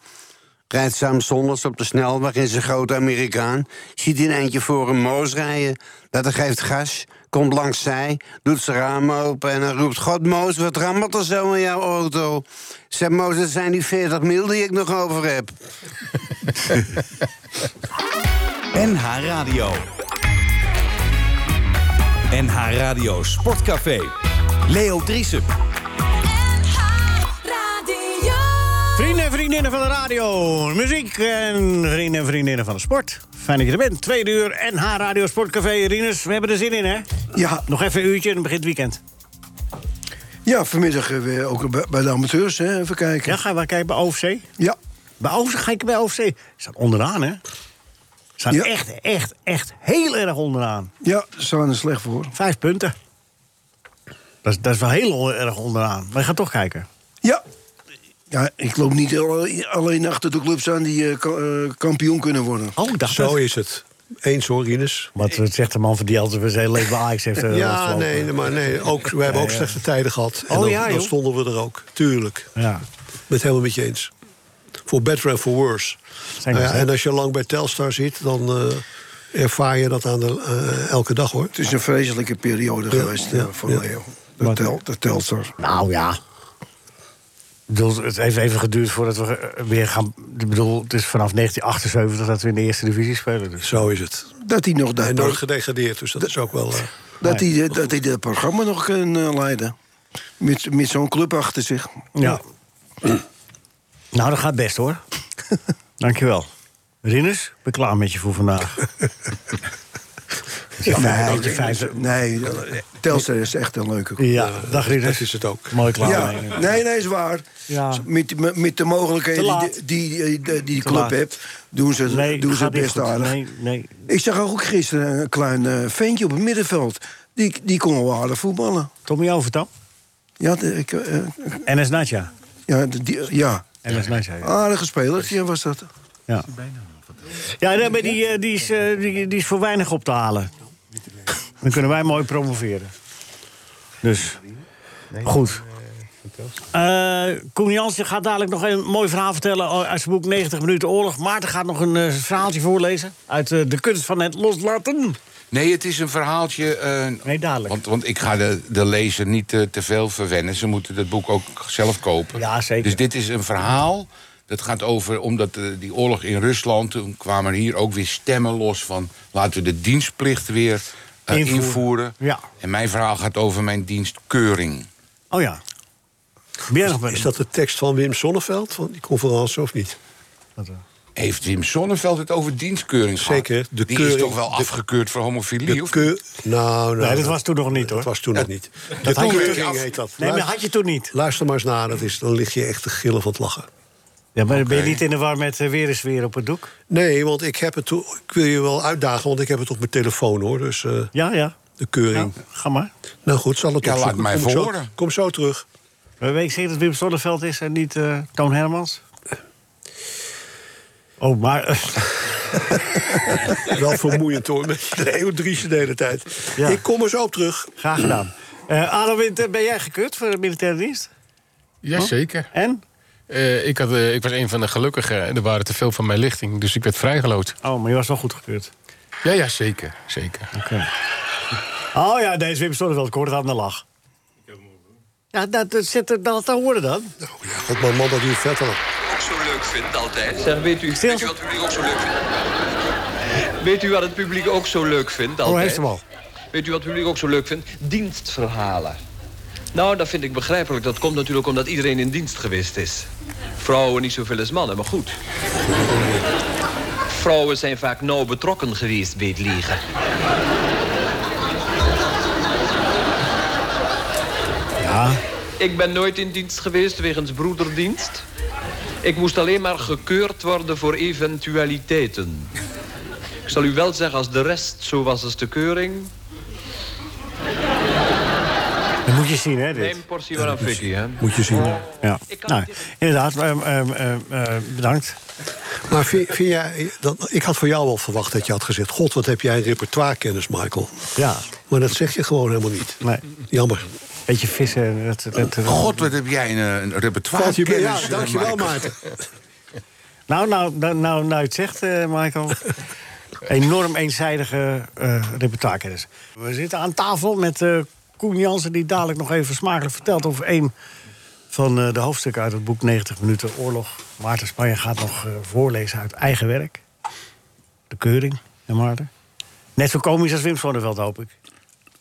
Rijdt Sam zondags op de snelweg in zijn grote Amerikaan. Ziet in eentje voor een Moos rijden. Dat geeft gas, komt langs zij, doet zijn raam open... en dan roept, God Moos, wat rammelt er zo in jouw auto? Zegt Moos, dat zijn die 40 mil die ik nog over heb.
NH Radio. NH Radio Sportcafé. Leo Driesen.
Vrienden en vriendinnen van de radio, muziek en vrienden en vriendinnen van de sport. Fijn dat je er bent. Tweede uur NH Radio Sportcafé. Rinus, we hebben er zin in, hè?
Ja,
Nog even een uurtje en dan begint het weekend.
ja, vanmiddag eh, weer ook bij- bij de amateurs, hè, even kijken.
Ja, ga je wel kijken bij OFC?
ja.
Bij OFC ga ik bij OFC. Staat onderaan, hè? Staat
Ja.
echt, echt, echt heel erg onderaan.
Ja, ze staan er slecht voor.
Vijf punten. Dat is, dat is wel heel erg onderaan. Maar je gaat toch kijken.
Ja. Ja, ik loop niet al- alleen achter de clubs aan die eh, ka- eh, kampioen kunnen worden.
Oh, ik dacht
Zo
dat.
is het. Eens hoor, Rinus.
Wat wat zegt de man van die altijd zijn hele leven bij Ajax heeft eh,
Ja,
rondgelopen.
nee, maar nee. Ook, we hebben ook slechte tijden gehad. En
Oh,
dan,
ja,
dan
joh.
stonden we er ook. Tuurlijk.
Ja.
Ben het helemaal met je eens. Voor better en for worse.
Zijn
Nou ja,
we zo.
en als je lang bij Telstar zit, dan eh, ervaar je dat aan de, eh, elke dag hoor.
Het is een vreselijke periode geweest eh, voor
ja.
Leo. Dat, tel, dat telt er.
Nou ja. Ik bedoel, het heeft even geduurd voordat we eh, weer gaan. Ik bedoel, het is vanaf 1978 dat we in de eerste divisie spelen. Dus.
Zo is het.
Dat hij nog dat,
En nooit
pro-
gedegradeerd, dus dat is ook wel... eh,
dat, hij, eh, dat, hij dat programma nog kan eh, leiden. Met, met zo'n club achter zich.
Ja. Nou, dat gaat best hoor. Dankjewel. Rinus, ben klaar met je voor vandaag.
nee,
de vijfde-
nee, Telstra is echt een leuke club. Eh,
Ja, dag Rinus.
dat is het ook.
Mooi klaar.
Ja,
mee.
nee, nee, is waar.
Ja.
Met, met- met de mogelijkheden
Te
die,
laat.
die, eh, die die
Te
club
laat.
heeft, doen ze,
Nee,
doen ze
gaat
het
niet
best
goed.
aardig.
Nee, nee.
Ik zag ook gisteren een klein eh, ventje op het middenveld. Die, die kon wel aardig voetballen.
Tommy Overtam.
Ja, de- ik, eh,
NS Natja.
ja, de- die, eh, ja.
NS Natja, ja.
aardige speler was dat.
Ja, ja nee, maar die, eh, die, is, eh, die, die is voor weinig op te halen. Dan kunnen wij mooi promoveren. Dus, goed. Eh Koen Jansen gaat dadelijk nog een mooi verhaal vertellen uit zijn boek 90 minuten oorlog. Maarten gaat nog een eh, verhaaltje voorlezen uit eh, De kunst van het loslaten.
Nee, het is een verhaaltje. eh,
Nee, dadelijk.
want, want ik ga de, de lezer niet eh, te veel verwennen. Ze moeten dat boek ook zelf kopen.
Ja, zeker.
Dus dit is een verhaal. Dat gaat over, omdat eh, die oorlog in Rusland... toen kwamen er hier ook weer stemmen los van... laten we de dienstplicht weer eh,
Invoeren.
invoeren.
Ja.
En mijn verhaal gaat over mijn dienstkeuring.
Oh ja. Ben jij nog bij-
Is dat de tekst van Wim Sonneveld, van die conferentie of niet?
Heeft Wim Sonneveld het over dienstkeuring gehad?
Zeker, de
die is
keuring-
toch wel
de-
afgekeurd voor homofilie?
De
of
keu- Nou, nou,
Nee, dat
nou,
was toen nog niet, hoor.
Dat was toen nog niet. De
had je
keuring
toen-
heet dat.
Nee, maar
Luister-
had je toen niet.
Luister maar eens naar, dat is, dan lig je echt te gillen van het lachen.
Ja, maar ben je
Oké.
niet in de war met eh, weer eens weer op het doek?
Nee, want ik heb het toen. Ik wil je wel uitdagen, want ik heb het op mijn telefoon hoor. Dus eh,
Ja, ja.
de
Nou,
keuring.
ga maar.
Nou goed, zal het
Ja,
opzoeken.
laat mij
kom ik zo-
verhoren.
kom zo terug.
Maar weet ik zeker dat het Wim Sonneveld is en niet eh, Toon Hermans? Oh, maar...
Wel vermoeiend hoor, met de Eodriesche de hele tijd.
Ja.
Ik kom er zo op terug.
Graag gedaan. Eh Ado Winter, ben jij gekut voor de militaire dienst?
Jazeker.
En?
Eh, ik, had, eh, ik was een van de gelukkigen. en Er waren te veel van mijn lichting, dus ik werd vrijgeloot.
Oh, maar je was wel goedgekeurd.
Ja, ja, zeker. zeker.
Oh ja, deze Wim Sonneveld, ik hoorde het aan de lach. Ja, dat, dat, zit er, dat, dat hoorde dan.
God, mijn man, dat duurt vet lang.
ook zo leuk vindt altijd. Zeg, weet u,
Stil.
weet u wat het publiek ook zo leuk vindt? Weet u wat het publiek ook zo leuk vindt altijd?
Oh, heeft hem al.
Weet u wat het publiek ook zo leuk vindt? Dienstverhalen. Nou, dat vind ik begrijpelijk. Dat komt natuurlijk omdat iedereen in dienst geweest is. Vrouwen niet zoveel als mannen, maar goed. Vrouwen zijn vaak nauw betrokken geweest bij het liegen. Ik ben nooit in dienst geweest wegens broederdienst. Ik moest alleen maar gekeurd worden voor eventualiteiten. Ik zal u wel zeggen, als de rest zo was als de keuring...
Dat moet je zien, hè, dit.
Neem portie maar aan fikkie, hè.
Moet je zien.
Ja.
Ik kan
Nou,
het niet-
inderdaad, ehm, ehm, ehm, ehm, bedankt.
Maar vind, vind jij, dan, ik had voor jou wel verwacht dat je had gezegd: God, wat heb jij een repertoirekennis, Michael?
Ja,
Maar dat zeg je gewoon helemaal niet.
nee.
Jammer.
Beetje vissen. en Dat, dat, dat-
God, wat heb jij een, eh, een
Valt
repertoire
je mee?
kennis,
Ja,
eh,
dankjewel,
Marco.
Maarten.
Nou, nou, nou, nou, nou je het zegt, eh, Michael. Enorm eenzijdige eh repertoirekennis. We zitten aan tafel met eh, Koen Jansen... die dadelijk nog even smakelijk vertelt over één van eh, de hoofdstukken uit het boek 90 Minuten Oorlog. Maarten Spanje gaat nog eh, voorlezen uit eigen werk. De Keuring, hè Maarten? Net zo komisch als Wim Sonneveld, hoop ik.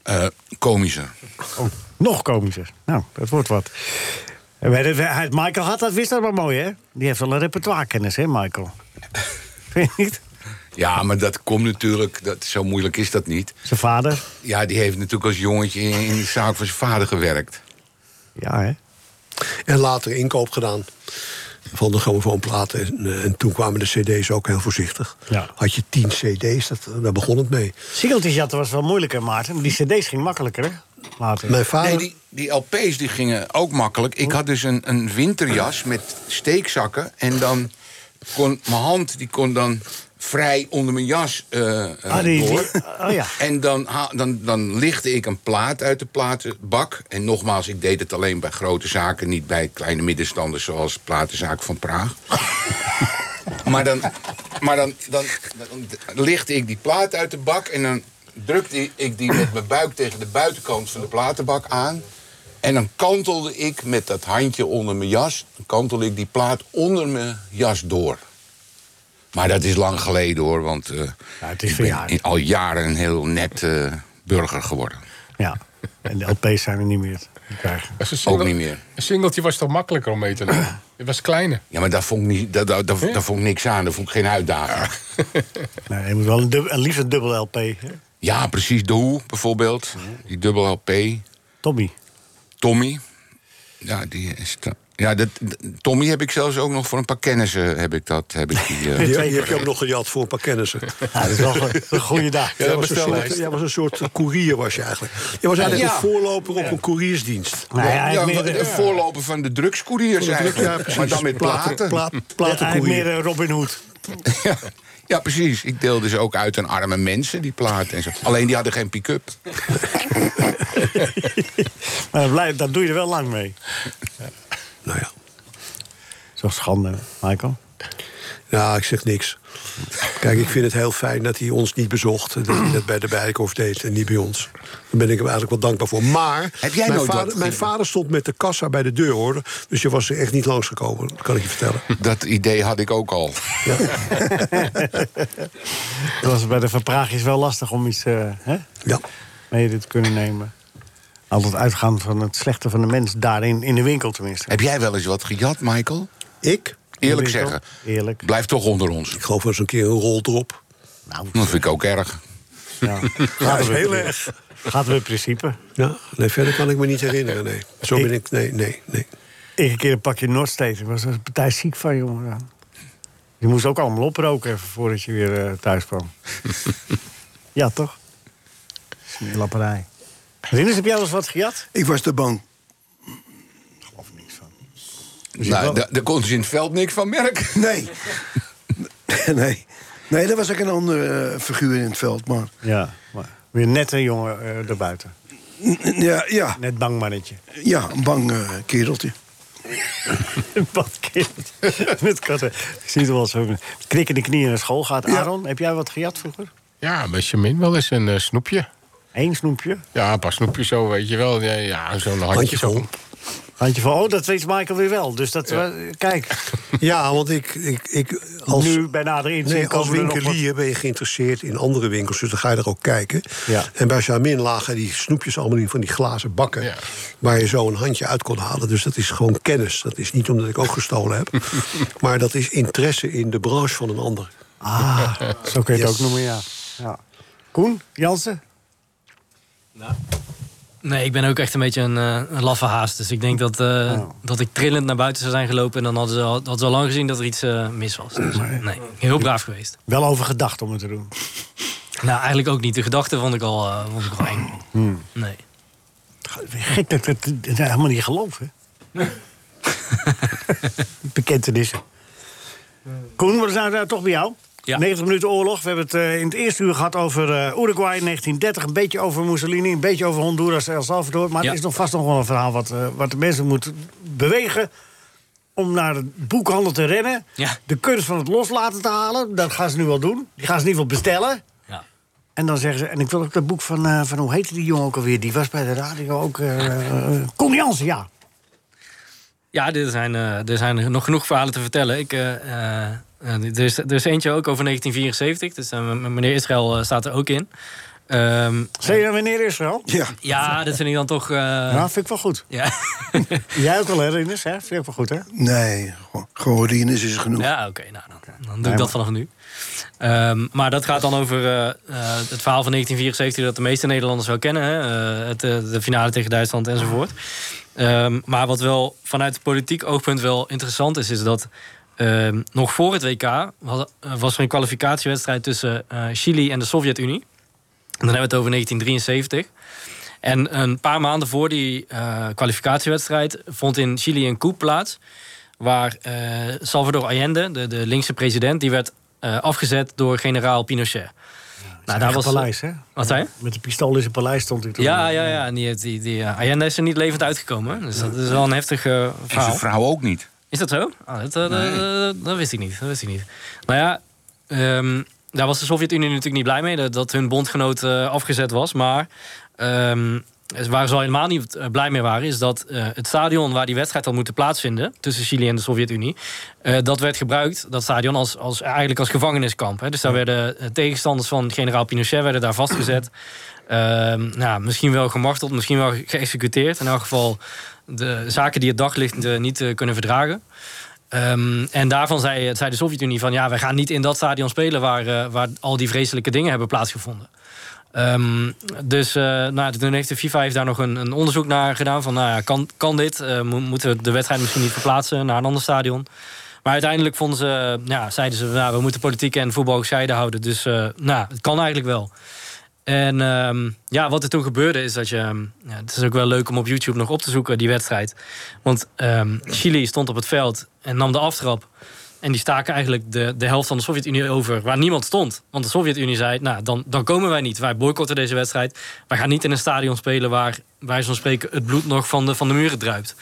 Eh, komischer.
Oh, nog komischer. Eh, Nou, dat wordt wat. En wij- wij- Michael had dat, wist dat maar mooi, hè? Die heeft wel een repertoirekennis, hè, Michael? Vind je niet?
Ja, maar dat komt natuurlijk, dat, zo moeilijk is dat niet.
Zijn vader.
Ja, die heeft natuurlijk als jongetje in, in de zaak van zijn vader gewerkt.
Ja, hè?
En later inkoop gedaan van de grammofoonplaten. En, eh, en toen kwamen de cd's ook heel voorzichtig.
Ja.
Had je tien cd's, dat, daar begon het mee.
Singeltjes jatten was wel moeilijker, Maarten. maar Die cd's ging makkelijker, hè? Later.
Mijn vader...
Nee, die, die LP's die gingen ook makkelijk. Ik had dus een, een winterjas met steekzakken. En dan kon mijn hand die kon dan vrij onder mijn jas eh, eh,
Ah, die- die-
door.
oh ja.
En dan, ha- dan, dan lichtte ik een plaat uit de platenbak. En nogmaals, ik deed het alleen bij grote zaken, niet bij kleine middenstanders zoals de platenzaak van Praag. maar dan, maar dan, dan, dan lichtte ik die plaat uit de bak en dan drukte ik die met mijn buik tegen de buitenkant van de platenbak aan. En dan kantelde ik met dat handje onder mijn jas... dan kantelde ik die plaat onder mijn jas door. Maar dat is lang geleden, hoor. Want eh, ik ben in- al jaren een heel net eh, burger geworden.
Ja. En de LP's zijn er niet meer te krijgen.
Dat is een
Ook
single-
niet meer.
Een singeltje was toch makkelijker om mee te nemen? Het was kleiner.
Ja, maar daar vond ik, niet, daar, daar, daar, daar vond ik niks aan. Daar vond ik geen uitdaging.
Nee, je moet wel een, dub- een liefst een dubbel LP. hè?
Ja, precies. De Hoe bijvoorbeeld. Die dubbel LP.
Tommy.
Tommy. Ja, die is te- ja, dat, dat- Tommy heb ik zelfs ook nog voor een paar kennissen. Heb ik dat, heb ik die, eh,
Die, die heb je ook nog gejat voor een paar kennissen.
Ja, dat is wel een- een goede dag.
Jij was een,
bestellen.
soort, jij was een soort courier was je eigenlijk. Je was eigenlijk
Ja.
een voorloper op een couriersdienst.
Nou ja, hij
ja,
heeft meer-
de voorloper van de drugscouriers
Ja,
eigenlijk.
precies.
maar dan met platen.
Platen- pla-
Ja, hij heeft
platencourier.
meer eh, Robin Hood.
Ja, ja, precies. Ik deelde ze ook uit aan arme mensen, die platen. En zo. Alleen die hadden geen pick-up.
Maar dat, blijft, dat doe je er wel lang mee.
Nou ja.
Zo'n schande, Michael.
Nou, ik zeg niks. Kijk, ik vind het heel fijn dat hij ons niet bezocht. en Dat hij dat bij de Bijenkorf deed en niet bij ons. Daar ben ik hem eigenlijk wel dankbaar voor. Maar
Heb jij
mijn,
nooit wat
vader, mijn
gedaan?
vader stond met de kassa bij de deur, hoor. Dus je was er echt niet langsgekomen, dat kan ik je vertellen.
Dat idee had ik ook al.
Dat was bij de verpraagjes wel lastig om iets eh, hè,
Ja.
mee te kunnen nemen. Altijd uitgaan van het slechte van de mens. Daarin, in de winkel tenminste.
Heb jij wel eens wat gejat, Michael?
Ik?
In
Eerlijk
de winkel.
zeggen.
Eerlijk.
Blijf toch onder ons.
Ik geloof wel eens een keer een rol erop.
Nou,
Dat vind ik ook erg.
ja.
Ja,
Gaat
is
weer-
heel erg.
Gaat weer principe.
Ja, nee, verder kan ik me niet herinneren, nee. Zo ben ik, nee, nee, nee.
Ik een keer een pakje Noordsteed. Ik was er een partij ziek van, jongen. Je moest ook allemaal oproken even voordat je weer eh, thuis kwam. ja, toch? Lapperij. Rinus, heb jij wel eens wat gejat?
Ik was te bang.
Nou, da- daar kon ze in het veld niks van merken.
Nee. nee. Nee, dat was ook een andere eh, figuur in het veld. Maar
Ja. Maar weer net een jongen eh, daarbuiten.
ja, ja,
Net bang mannetje.
ja een bang eh, kereltje.
Een badkind. Met katten. Ik zie het wel eens. ook. Knikkende knieën naar school gaat. Aaron, heb jij wat gejat vroeger?
Ja, een beetje min. Wel eens een eh, snoepje.
Eén snoepje.
Ja, een paar snoepjes zo, weet je wel. Ja, ja zo'n handje zo.
Handje van, oh, dat weet Michael weer wel. Dus dat, eh, kijk,
Ja, want ik, ik, ik als,
nu bij nader inzien...
Nee, als
komen er nog wat-
winkelier ben je geïnteresseerd in andere winkels, dus dan ga je er ook kijken.
Ja.
En bij Jamin lagen die snoepjes allemaal in van die glazen bakken.
Ja.
Waar je zo een handje uit kon halen. Dus dat is gewoon kennis. Dat is niet omdat ik ook gestolen heb. maar dat is interesse in de branche van een ander.
Ah, zo kun je het
Yes.
ook noemen, ja. ja. Koen, Jansen?
Nee, ik ben ook echt een beetje een, eh, een laffe haast. Dus ik denk dat, eh,
Oh.
dat ik trillend naar buiten zou zijn gelopen... en dan hadden ze al, hadden ze al lang gezien dat er iets eh, mis was. Dus, nee, heel braaf geweest.
Wel over gedacht om het te doen.
Nou, eigenlijk ook niet. De gedachte vond ik al, eh, vond ik al eng. Nee.
Gek dat ik dat, dat helemaal niet geloof, hè? Bekentenissen. Koen, we zijn daar nou, toch bij jou.
Ja.
90 minuten oorlog. We hebben het eh, in het eerste uur gehad over eh, Uruguay in 1930. Een beetje over Mussolini, een beetje over Honduras en El Salvador. Maar
Ja.
er is nog vast nog wel een verhaal wat, eh, wat de mensen moet bewegen... om naar de boekhandel te rennen.
Ja.
De kunst van het loslaten te halen. Dat gaan ze nu wel doen. Die gaan ze in ieder geval bestellen.
Ja.
En dan zeggen ze, en ik wil ook dat boek van, eh, van hoe heette die jongen ook alweer? Die was bij de radio ook. eh eh, Koen Jansen, ja.
Ja, er zijn, eh, er zijn nog genoeg verhalen te vertellen. Ik, eh, eh, eh, er, is, er is eentje ook over 1974. Dus eh, m- meneer Israël eh, staat er ook in. Ehm,
Zeg je dan wanneer Israël?
Ja.
ja, dat vind ik dan toch... eh,
Ja, vind ik wel goed.
ja.
Jij ook wel, hè, Rinus? Hè? Vind ik wel goed, hè?
Nee, gewoon- gewoon Rinus is genoeg.
Ja, oké. nou, dan, dan doe ik dat vanaf nu. Ehm, maar dat gaat dan over eh, eh, het verhaal van 1974 dat de meeste Nederlanders wel kennen. Hè? Eh, het, eh, de finale tegen Duitsland enzovoort. Ehm, maar wat wel vanuit het politiek oogpunt wel interessant is, is dat ehm, nog voor het WK had- eh, was er een kwalificatiewedstrijd tussen eh, Chili en de Sovjet-Unie. En dan hebben we het over 1973. En een paar maanden voor die eh, kwalificatiewedstrijd vond in Chili een coup plaats. Waar eh, Salvador Allende, de, de linkse president, die werd eh, afgezet door generaal Pinochet. nou,
Eigen paleis, hè?
Wat zei je?
Met de pistool in zijn paleis stond hij toen.
Ja, ja, ja. En die, heeft- die, die, eh, Allende is er niet levend uitgekomen. hè. Dus dat is wel een heftig eh,
En zijn
verhaal.
vrouw ook niet.
Is dat zo? Ah, dat, eh, dat- dat- dat wist ik niet. Dat wist ik niet. Nou ja, ehm, daar was de Sovjet-Unie natuurlijk niet blij mee dat, dat hun bondgenoot eh, afgezet was. Maar ehm, Dus waar ze al helemaal niet eh, blij mee waren, is dat eh, het stadion waar die wedstrijd had moeten plaatsvinden tussen Chili en de Sovjet-Unie, eh, dat werd gebruikt, dat stadion, als, als, eigenlijk als gevangeniskamp. Hè. Dus daar werden eh, tegenstanders van generaal Pinochet werden daar vastgezet. Ehm, nou, misschien wel gemarteld, misschien wel geëxecuteerd. In elk geval de zaken die het daglicht eh, niet eh, kunnen verdragen. Ehm, en daarvan zei, zei de Sovjet-Unie van ja, wij gaan niet in dat stadion spelen waar, eh, waar al die vreselijke dingen hebben plaatsgevonden. Ehm, dus eh, nou, toen heeft de FIFA heeft daar nog een, een onderzoek naar gedaan. Van, nou ja, kan, kan dit? Eh, mo- moeten we de wedstrijd misschien niet verplaatsen naar een ander stadion? Maar uiteindelijk vonden ze, ja, zeiden ze, nou, we moeten politiek en voetbal gescheiden houden. Dus eh, nou, het kan eigenlijk wel. En ehm, ja, wat er toen gebeurde is dat je... ehm, ja, het is ook wel leuk om op YouTube nog op te zoeken, die wedstrijd. Want ehm, Chili stond op het veld en nam de aftrap. En die staken eigenlijk de, de helft van de Sovjet-Unie over waar niemand stond. Want de Sovjet-Unie zei, nou, dan, dan komen wij niet. Wij boycotten deze wedstrijd. Wij gaan niet in een stadion spelen waar, wij zo'n spreken, het bloed nog van de, van de muren druipt.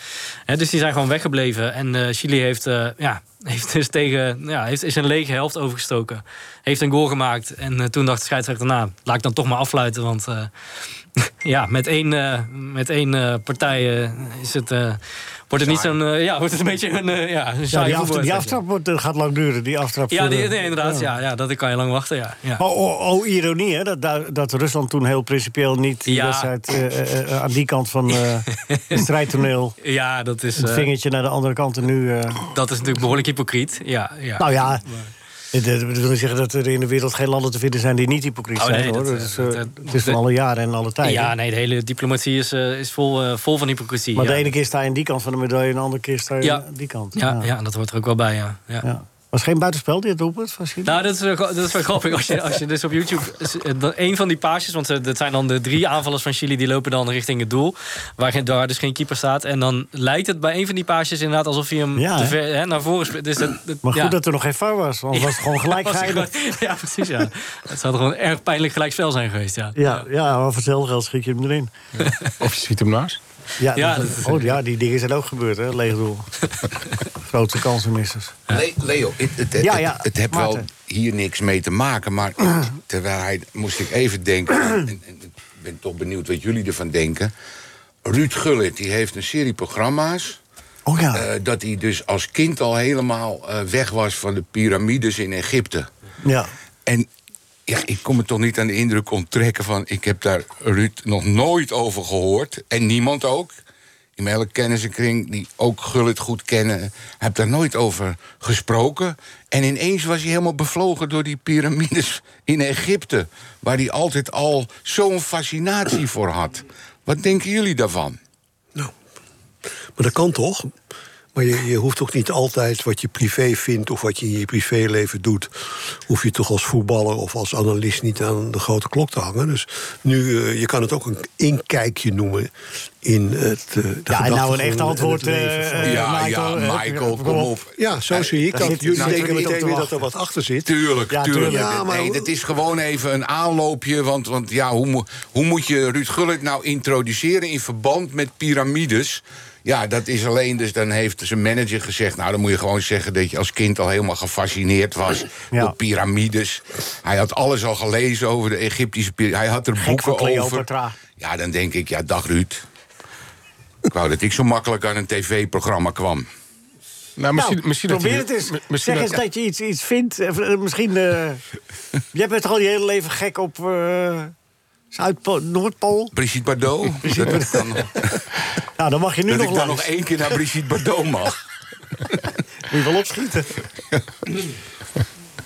Hè, dus die zijn gewoon weggebleven. En eh, Chili heeft, eh, ja, heeft dus tegen, ja, heeft, is een lege helft overgestoken. Heeft een goal gemaakt. En eh, toen dacht de scheidsrechter, nou, laat ik dan toch maar afluiten. Want eh, ja, met één, eh, met één eh, partij eh, is het, eh, wordt het niet zo'n... eh, ja, wordt het een beetje een... eh, ja, een saaie
Ja, die, aftrap, die
voetbalwedstrijd.
aftrap wordt, eh, gaat lang duren. Die aftrap
Ja,
voor de-
die, nee, inderdaad. Ja. Ja, dat kan je lang wachten, ja. ja.
Maar oh, oh, ironie, hè? Dat, daar- dat Rusland toen heel principieel niet die
Ja.
wedstrijd eh, eh, eh, aan die kant van eh, het strijdtoneel.
Ja, dat is,
Het
eh,
vingertje naar de andere kant en nu. eh,
dat is natuurlijk behoorlijk hypocriet. Ja, ja.
Nou ja, het, het- dat wil zeggen dat er in de wereld geen landen te vinden zijn die niet hypocriet
Oh, nee,
zijn. hoor.
dat,
Dat,
eh,
is, eh,
dat, eh,
het is van
dat-
alle jaren en alle tijden.
Ja, nee, de hele diplomatie is, eh, is vol, eh, vol van hypocrisie.
maar
ja.
de ene keer sta je aan die kant van de medaille en de andere keer sta je
Ja.
aan die kant.
Ja, ja, dat hoort er ook wel bij, ja. ja.
Was geen buitenspel dit doelpunt van Chili?
Nou, dat is, wel- dat is wel grappig. Als je, als je dus op YouTube is- eh, dan een van die paasjes, want eh, dat zijn dan de drie aanvallers van Chili, die lopen dan richting het doel, waar, geen- waar dus geen keeper staat. En dan lijkt het bij een van die paasjes inderdaad alsof hij hem
Ja,
te
hè?
ver hè, naar voren speelt. Dus dat, dat-
Maar goed
ja.
dat er nog geen VAR was, want was het gewoon gelijk
Was hij
geëindigd.
gewoon- Ja, precies, ja. Het zou gewoon een erg pijnlijk gelijkspel zijn geweest, ja.
Ja, ja, maar voor hetzelfde geld schiet je hem erin.
Of je schiet hem naast.
Ja,
Ja,
dat-
dat-
oh, ja die dingen zijn ook gebeurd, hè? Leeg doel. Grote kansenmissers.
Le- Leo, het, het, het,
Ja, ja,
het- het heeft wel
Maarten.
hier niks mee te maken. Maar terwijl hij, moest ik even denken... en, en ik ben toch benieuwd wat jullie ervan denken. Ruud Gullit, die heeft een serie programma's...
Oh ja.
eh, dat hij dus als kind al helemaal eh, weg was van de piramides in Egypte.
Ja.
En ja, ik kon me toch niet aan de indruk onttrekken van... ik heb daar Ruud nog nooit over gehoord. En niemand ook. In mijn hele kennissenkring, die ook Gullit goed kennen... heb daar nooit over gesproken. En ineens was hij helemaal bevlogen door die piramides in Egypte... waar hij altijd al zo'n fascinatie voor had. Wat denken jullie daarvan?
Maar dat kan toch? Maar je, je hoeft ook niet altijd wat je privé vindt of wat je in je privéleven doet, hoef je toch als voetballer of als analist niet aan de grote klok te hangen. Dus nu, eh, je kan het ook een inkijkje noemen in het. eh, de
Ja, en nou een
gedachtegang
echt
echt
en
antwoord.
het leven van-
eh, Ja, Michael, ja, eh, Michael, kom kom op. op.
Ja, zo zie ik
Daar
dat.
zit-
Jullie
nou,
denken
zit niet
meteen
op
weer
te
dat er wat achter zit.
Tuurlijk, tuurlijk.
tuurlijk. Ja, maar
nee,
hoe-
dat is gewoon even een aanloopje. Want, want ja, hoe, mo- hoe moet je Ruud Gullit nou introduceren in verband met piramides? Ja, dat is alleen dus. Dan heeft zijn manager gezegd. Nou, dan moet je gewoon zeggen dat je als kind al helemaal gefascineerd was
Ja.
door piramides. Hij had alles al gelezen over de Egyptische piramides. Hij had er
Gek
boeken
voor Cleopatra.
over. Ja, dan denk ik, ja, dag Ruud. Ik wou dat ik zo makkelijk aan een tv-programma kwam.
Nou, misschien, misschien dat
probeer
hij-
het eens.
mi- misschien
zeg eens dat, je iets, iets vindt. Eh, eh, Misschien. eh, jij bent toch al je hele leven gek op. eh, Zuidpool, Noordpool?
Brigitte Bardot. dat ik dan,
Nou, dan mag je nu
dat
nog
ik dan nog
langs.
één keer naar Brigitte Bardot mag.
Moet je wel opschieten.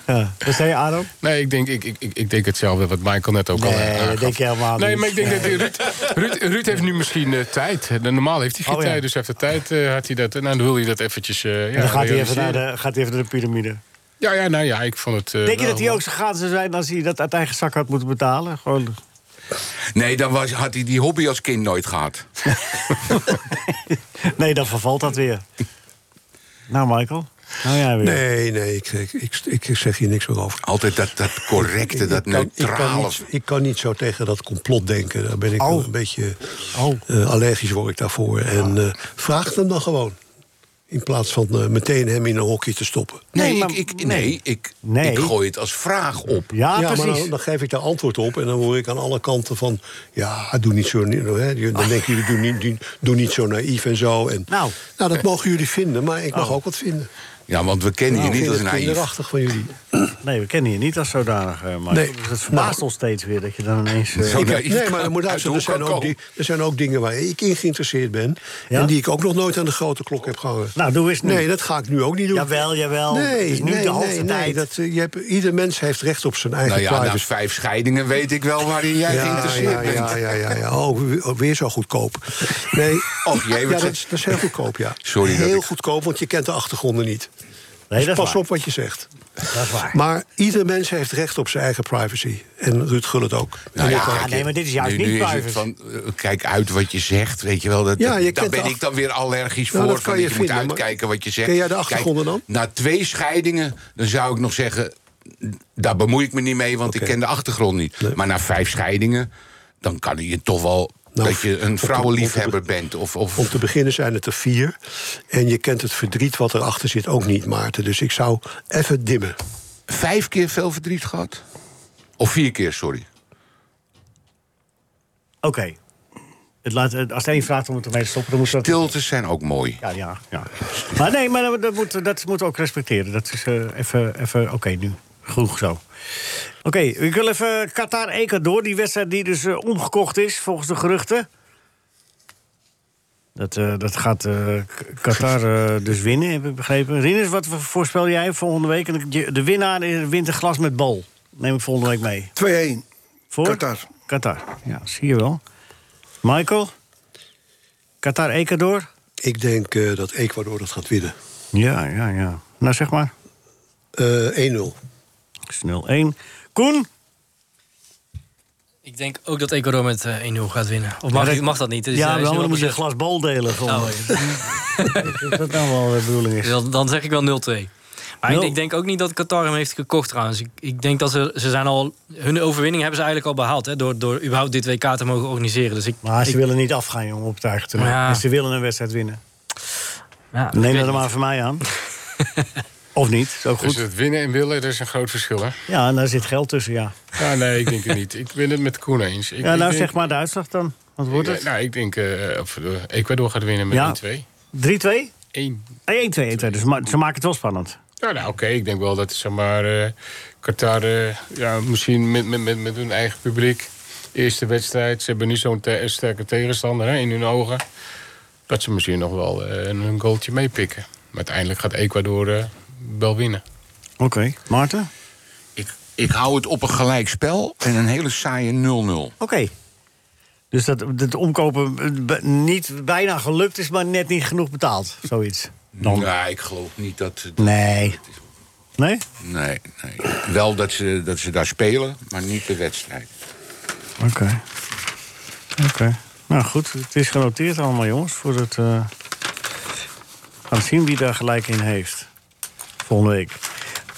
ja, wat zei je, Adam?
Nee, ik denk, ik, ik, ik, ik denk hetzelfde wat Michael net ook al
Nee,
eh,
dat
aangaf.
denk je helemaal
Nee,
niet.
maar ik denk dat Ruud, Ruud, Ruud heeft nu misschien eh, tijd. Eh, Normaal heeft hij geen
Oh, ja.
tijd, dus hij heeft de tijd. eh, had hij dat, nou, dan wil hij dat eventjes eh, ja,
En dan gaat hij, even
realiseren.
naar de, gaat hij even naar de piramide.
Ja, ja, nou ja, ik vond het... eh,
Denk je
wel-
dat hij ook zo gaan zou zijn als hij dat uit eigen zak had moeten betalen? Gewoon,
Nee, dan was, had hij die hobby als kind nooit gehad.
nee, dan vervalt dat weer. Nou, Michael. Nou, jij weer.
Nee, nee, ik, ik, ik, ik zeg hier niks meer over.
Altijd dat, dat correcte, dat
Ik kan- ik, kan
neutrale.
niet, ik kan niet zo tegen dat complot denken. Daar ben ik wel een beetje
Oh.
eh, allergisch word ik daarvoor. En eh, vraag het hem dan gewoon. In plaats van eh, meteen hem in een hokje te stoppen.
Nee, ik, ik, nee, ik, ik gooi het als vraag op.
Ja, maar dan, dan geef ik daar antwoord op. En dan hoor ik aan alle kanten van... ja, doe niet zo... Hè, dan denken jullie, doe niet, doe- doe niet zo naïef en zo. En, nou. dat mogen jullie vinden, maar ik mag
Oh.
ook wat vinden.
Ja, want we kennen
Nou,
je
ik
niet als
vind het
naïef.
kinderachtig van jullie.
Nee, we kennen je niet als zodanig, eh Mark.
Nee.
Dus het verbaast ons steeds weer dat je dan ineens... eh,
Ik heb- nee, maar er, moet luisteren, er, zijn ook, di- er zijn ook dingen waar ik in geïnteresseerd ben... en die ik ook nog nooit aan de grote klok heb gehangen.
Nou, doe eens nu.
Nee, dat ga ik nu ook niet doen.
Jawel, jawel.
Nee,
Het is nu
nee,
de hoogste
nee, nee,
tijd.
dat, eh, je hebt, ieder mens heeft recht op zijn eigen
Nou ja, na
privacy.
vijf scheidingen weet ik wel waarin jij geïnteresseerd
ja,
bent.
Ja, ja, ja, ja. Oh, we- weer zo goedkoop. Nee.
Och, jij
ja,
wordt-
dat, is, dat is heel goedkoop, ja.
Sorry dat
heel
ik-
goedkoop, want je kent de achtergronden niet.
Nee,
Dus
dat is
pas
waar.
op wat je zegt.
Dat is waar.
Maar ieder mens heeft recht op zijn eigen privacy. En Ruud Gullit ook.
Nou
En
ja,
ik ook.
kijk, nu, nu is het van, eh, kijk uit wat je zegt, weet je wel. Dat,
Ja,
dat-
je
daar
kent
ben
de
ik dan weer allergisch
Ja,
voor.
dat
van
kan
dat
je
je
vinden,
moet
maar-
uitkijken wat je zegt.
Ken jij de
Kijk,
achtergronden dan?
Na twee scheidingen, dan zou ik nog zeggen... daar bemoei ik me niet mee, want ik ken de achtergrond niet. Maar na vijf scheidingen, dan kan je toch wel...
Nou,
dat je een vrouwenliefhebber bent. Of, of,
Om te beginnen zijn het er vier. En je kent het verdriet wat erachter zit ook niet, Maarten. Dus ik zou even dimmen.
Vijf keer veel verdriet gehad? of vier keer, sorry.
Oké. Het laat- eh, Als de een vraagt om het ermee te stoppen, dan moet dat...
Stiltes zijn ook mooi.
Ja, ja, ja. Maar nee, maar dat- dat moet, dat moet ook respecteren. Dat is eh, even... even Oké, nu. Genoeg zo. Oké, ik wil even Qatar-Ecuador. Die wedstrijd die dus eh, omgekocht is, volgens de geruchten. Dat, eh, dat gaat eh, K- Qatar eh, dus winnen, heb ik begrepen. Rinus, wat voorspel jij volgende week? En de- De winnaar eh, wint een glas met bal. Neem ik volgende week mee. 2-1. Voor? Qatar. Qatar, ja, zie je wel. Michael? Qatar, Ecuador?
Ik denk eh, dat Ecuador dat gaat winnen.
Ja, ja, ja. Nou, zeg maar.
Eh 1-0.
Snel 1. Koen?
Ik denk ook dat Ecuador met eh, 1-0 gaat winnen. Of mag,
Ja, dat-
mag dat niet? Het is,
ja,
eh, is
wel,
nu
dan moet je een
opgezet.
glas bal delen.
Oh,
volgens mij. Dat dat nou wel de bedoeling is.
dus Dan, dan zeg ik wel 0-2. Maar ik,
Nul.
ik denk ook niet dat Qatar hem heeft gekocht trouwens. Ik, ik denk dat ze, ze zijn al... Hun overwinning hebben ze eigenlijk al behaald... Hè, door, door überhaupt dit WK te mogen organiseren. Dus ik,
Maar ze
ik-
willen niet afgaan, jongen, op het eigen terrein.
Ja.
En ze willen een wedstrijd winnen.
Ja,
Neem
ik
dat
weet
er maar
niet.
van mij aan. of niet, is ook
Dus
goed.
het winnen en willen, dat is een groot verschil, hè?
Ja, en daar zit geld tussen, ja.
Ja, nee, ik denk het niet. Ik ben het met Koen eens. Ik,
ja
ik
nou,
denk-
zeg maar de uitslag dan. Wat wordt
ik-
het? 3-2?
Nou, ik denk eh, of, eh, Ecuador gaat winnen met
Ja.
1-2.
1-2,
1.
1-2. Dus ma- ze maken het wel spannend.
Ja, nou, oké. Ik denk wel dat zeg maar, eh, Qatar eh, ja, misschien met, met, met, met hun eigen publiek... Eerste wedstrijd, ze hebben nu zo'n te- sterke tegenstander hè, in hun ogen... dat ze misschien nog wel eh, een, een goaltje meepikken. Maar uiteindelijk gaat Ecuador eh, wel winnen.
Oké, Maarten?
Ik hou het op een gelijk spel en een hele saaie 0-0.
Oké. Dus dat het omkopen eh, b- niet bijna gelukt is, maar net niet genoeg betaald. Zoiets.
Ja, ik geloof niet dat... dat-
Nee. Nee?
Nee, nee. Wel dat ze, dat ze daar spelen, maar niet de wedstrijd.
Oké. Oké. Nou goed, het is genoteerd allemaal, jongens. Voor het. eh, gaan zien wie daar gelijk in heeft. Volgende week.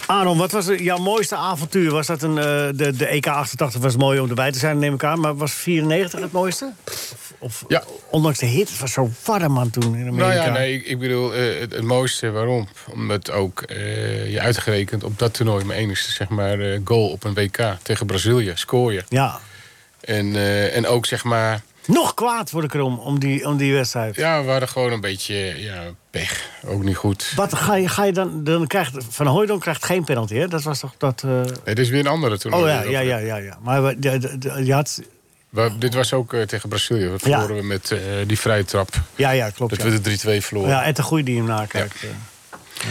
Aaron, wat was jouw mooiste avontuur? Was dat een. eh, de, de EK88 was mooi om erbij te zijn, neem ik aan. Maar was 94 het mooiste? Of, of
Ja.
ondanks de hit, het was zo warm aan toen in Amerika.
Nou ja, nee, ik, ik bedoel, eh, het, het mooiste waarom? Omdat ook eh, je uitgerekend op dat toernooi mijn enigste zeg maar, eh, goal op een WK tegen Brazilië scoor je.
Ja.
En, eh, en ook zeg maar,
Nog kwaad word ik erom, om die, om die wedstrijd.
ja, we waren gewoon een beetje ja, pech. Ook niet goed.
Wat ga je, ga je dan, dan krijgt Van Hooydonk krijgt geen penalty, hè? Dat was toch dat... eh,
Het is weer een andere toernooi.
Oh ja,
dat-
ja, ja, ja, ja. Maar we- de- de- de- je had...
we- dit was ook eh, tegen Brazilië. Dat
Ja.
verloren we met eh, die vrije trap.
Ja, Ah, ja, klopt.
Dat we de
ja.
3-2 verloren.
Ja, en de goede die hem nakijkt. eh.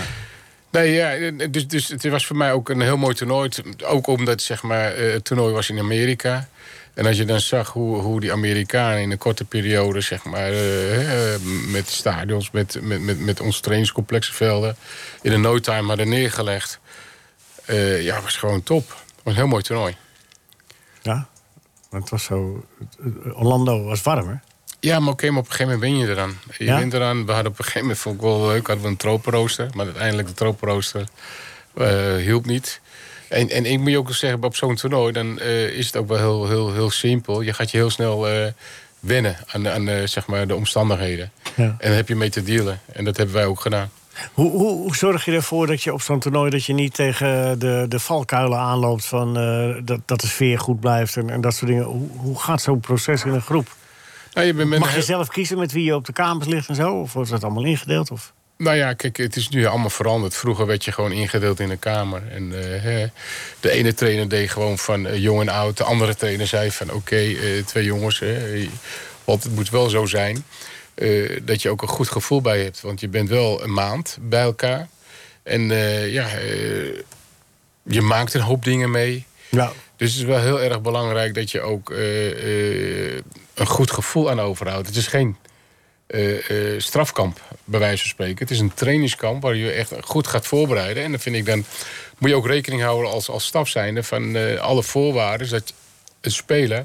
Nee, ja, dus, dus het was voor mij ook een heel mooi toernooi. T- Ook omdat zeg maar, eh, het toernooi was in Amerika. En als je dan zag hoe, hoe die Amerikanen in een korte periode... Zeg maar, eh, eh, met stadions, met, met, met, met onze trainingscomplexen velden... in een no-time hadden neergelegd. Eh, ja, was gewoon top. Het was Een heel mooi toernooi.
Ja, want het was zo... Orlando was warmer.
Ja, maar oké, maar op een gegeven moment win je eraan. Je
Ja?
wint eraan. We hadden op een gegeven moment, vond ik wel leuk, hadden we een tropenrooster. Maar uiteindelijk de tropenrooster eh, hielp niet. En, en ik moet je ook zeggen, op zo'n toernooi dan eh, is het ook wel heel, heel, heel simpel. Je gaat je heel snel eh, wennen aan, aan eh, zeg maar de omstandigheden. En daar heb je mee te dealen. En dat hebben wij ook gedaan.
Hoe, hoe, hoe zorg je ervoor dat je op zo'n toernooi... dat je niet tegen de, de valkuilen aanloopt van eh, dat, dat de sfeer goed blijft en, en dat soort dingen? Hoe, hoe gaat zo'n proces in een groep?
Nou, je bent met
Mag
een
je
heel-
zelf kiezen met wie je op de kamers ligt en zo? Of wordt dat allemaal ingedeeld? Of?
Nou ja, kijk, het is nu allemaal veranderd. Vroeger werd je gewoon ingedeeld in een kamer. En eh, hè, de ene trainer deed gewoon van eh, jong en oud. De andere trainer zei van oké, eh, twee jongens. hè, want het moet wel zo zijn eh, dat je ook een goed gevoel bij hebt. Want je bent wel een maand bij elkaar. En eh, ja, eh, je maakt een hoop dingen mee.
Ja.
Dus het is wel heel erg belangrijk dat je ook eh, eh, een goed gevoel aan overhoudt. Het is geen eh, eh, strafkamp, bij wijze van spreken. Het is een trainingskamp waar je je echt goed gaat voorbereiden. En dan vind ik dan moet je ook rekening houden als, als staf zijnde van eh, alle voorwaarden dat een speler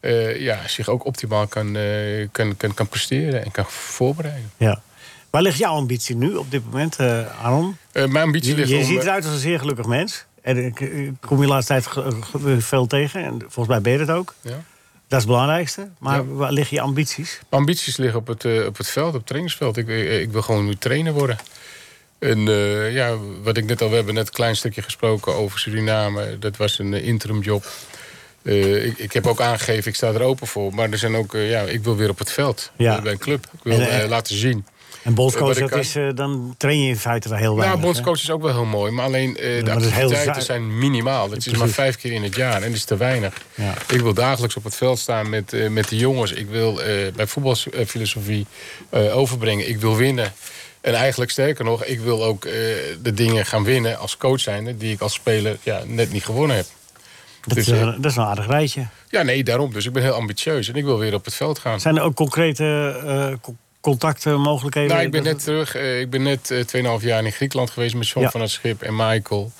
eh, ja, zich ook optimaal kan, eh, kan, kan, kan presteren en kan voorbereiden.
Ja. Waar ligt jouw ambitie nu op dit moment, eh Aron?
mijn ambitie
je,
ligt
Je
om,
ziet
eh,
eruit als een zeer gelukkig mens. En ik eh, kom je de laatste tijd ge- ge- veel tegen. En volgens mij ben je dat ook.
Ja.
Dat is het belangrijkste. Maar
Ja.
waar liggen je ambities?
Mijn ambities liggen op het, eh, op het veld, op het trainingsveld. Ik, eh, ik wil gewoon nu trainer worden. En eh, ja, wat ik net al, we hebben net een klein stukje gesproken over Suriname. Dat was een eh, interim job. Eh, ik, ik heb ook aangegeven, ik sta er open voor. Maar er zijn ook, eh, ja, ik wil weer op het veld.
Ja.
Eh, Bij een club. Ik wil
En, eh,
eh, laten zien.
En bondscoach,
Wat ik
dat
kan.
is, eh, dan train je in feite wel heel weinig.
Nou, bondscoach is ook wel heel mooi. Maar alleen eh, de
maar dat is heel
activiteiten
zuin.
zijn minimaal. Dat is maar
Precies.
vijf keer in het jaar en dat is te weinig.
Ja.
Ik wil dagelijks op het veld staan met, eh, met de jongens. Ik wil eh, bij voetbalfilosofie eh, overbrengen. Ik wil winnen. En eigenlijk sterker nog, ik wil ook eh, de dingen gaan winnen als coach zijnde... die ik als speler ja, net niet gewonnen heb.
Dat,
Dus,
is,
eh,
een- dat is een aardig rijtje.
Ja, nee, daarom. Dus ik ben heel ambitieus en ik wil weer op het veld gaan.
Zijn er ook concrete eh, co- contacten, mogelijkheden?
Nou, ik ben
Dat-
net terug. eh, ik ben net eh, 2,5 jaar in Griekenland geweest met John
Ja.
van het Schip en Michael.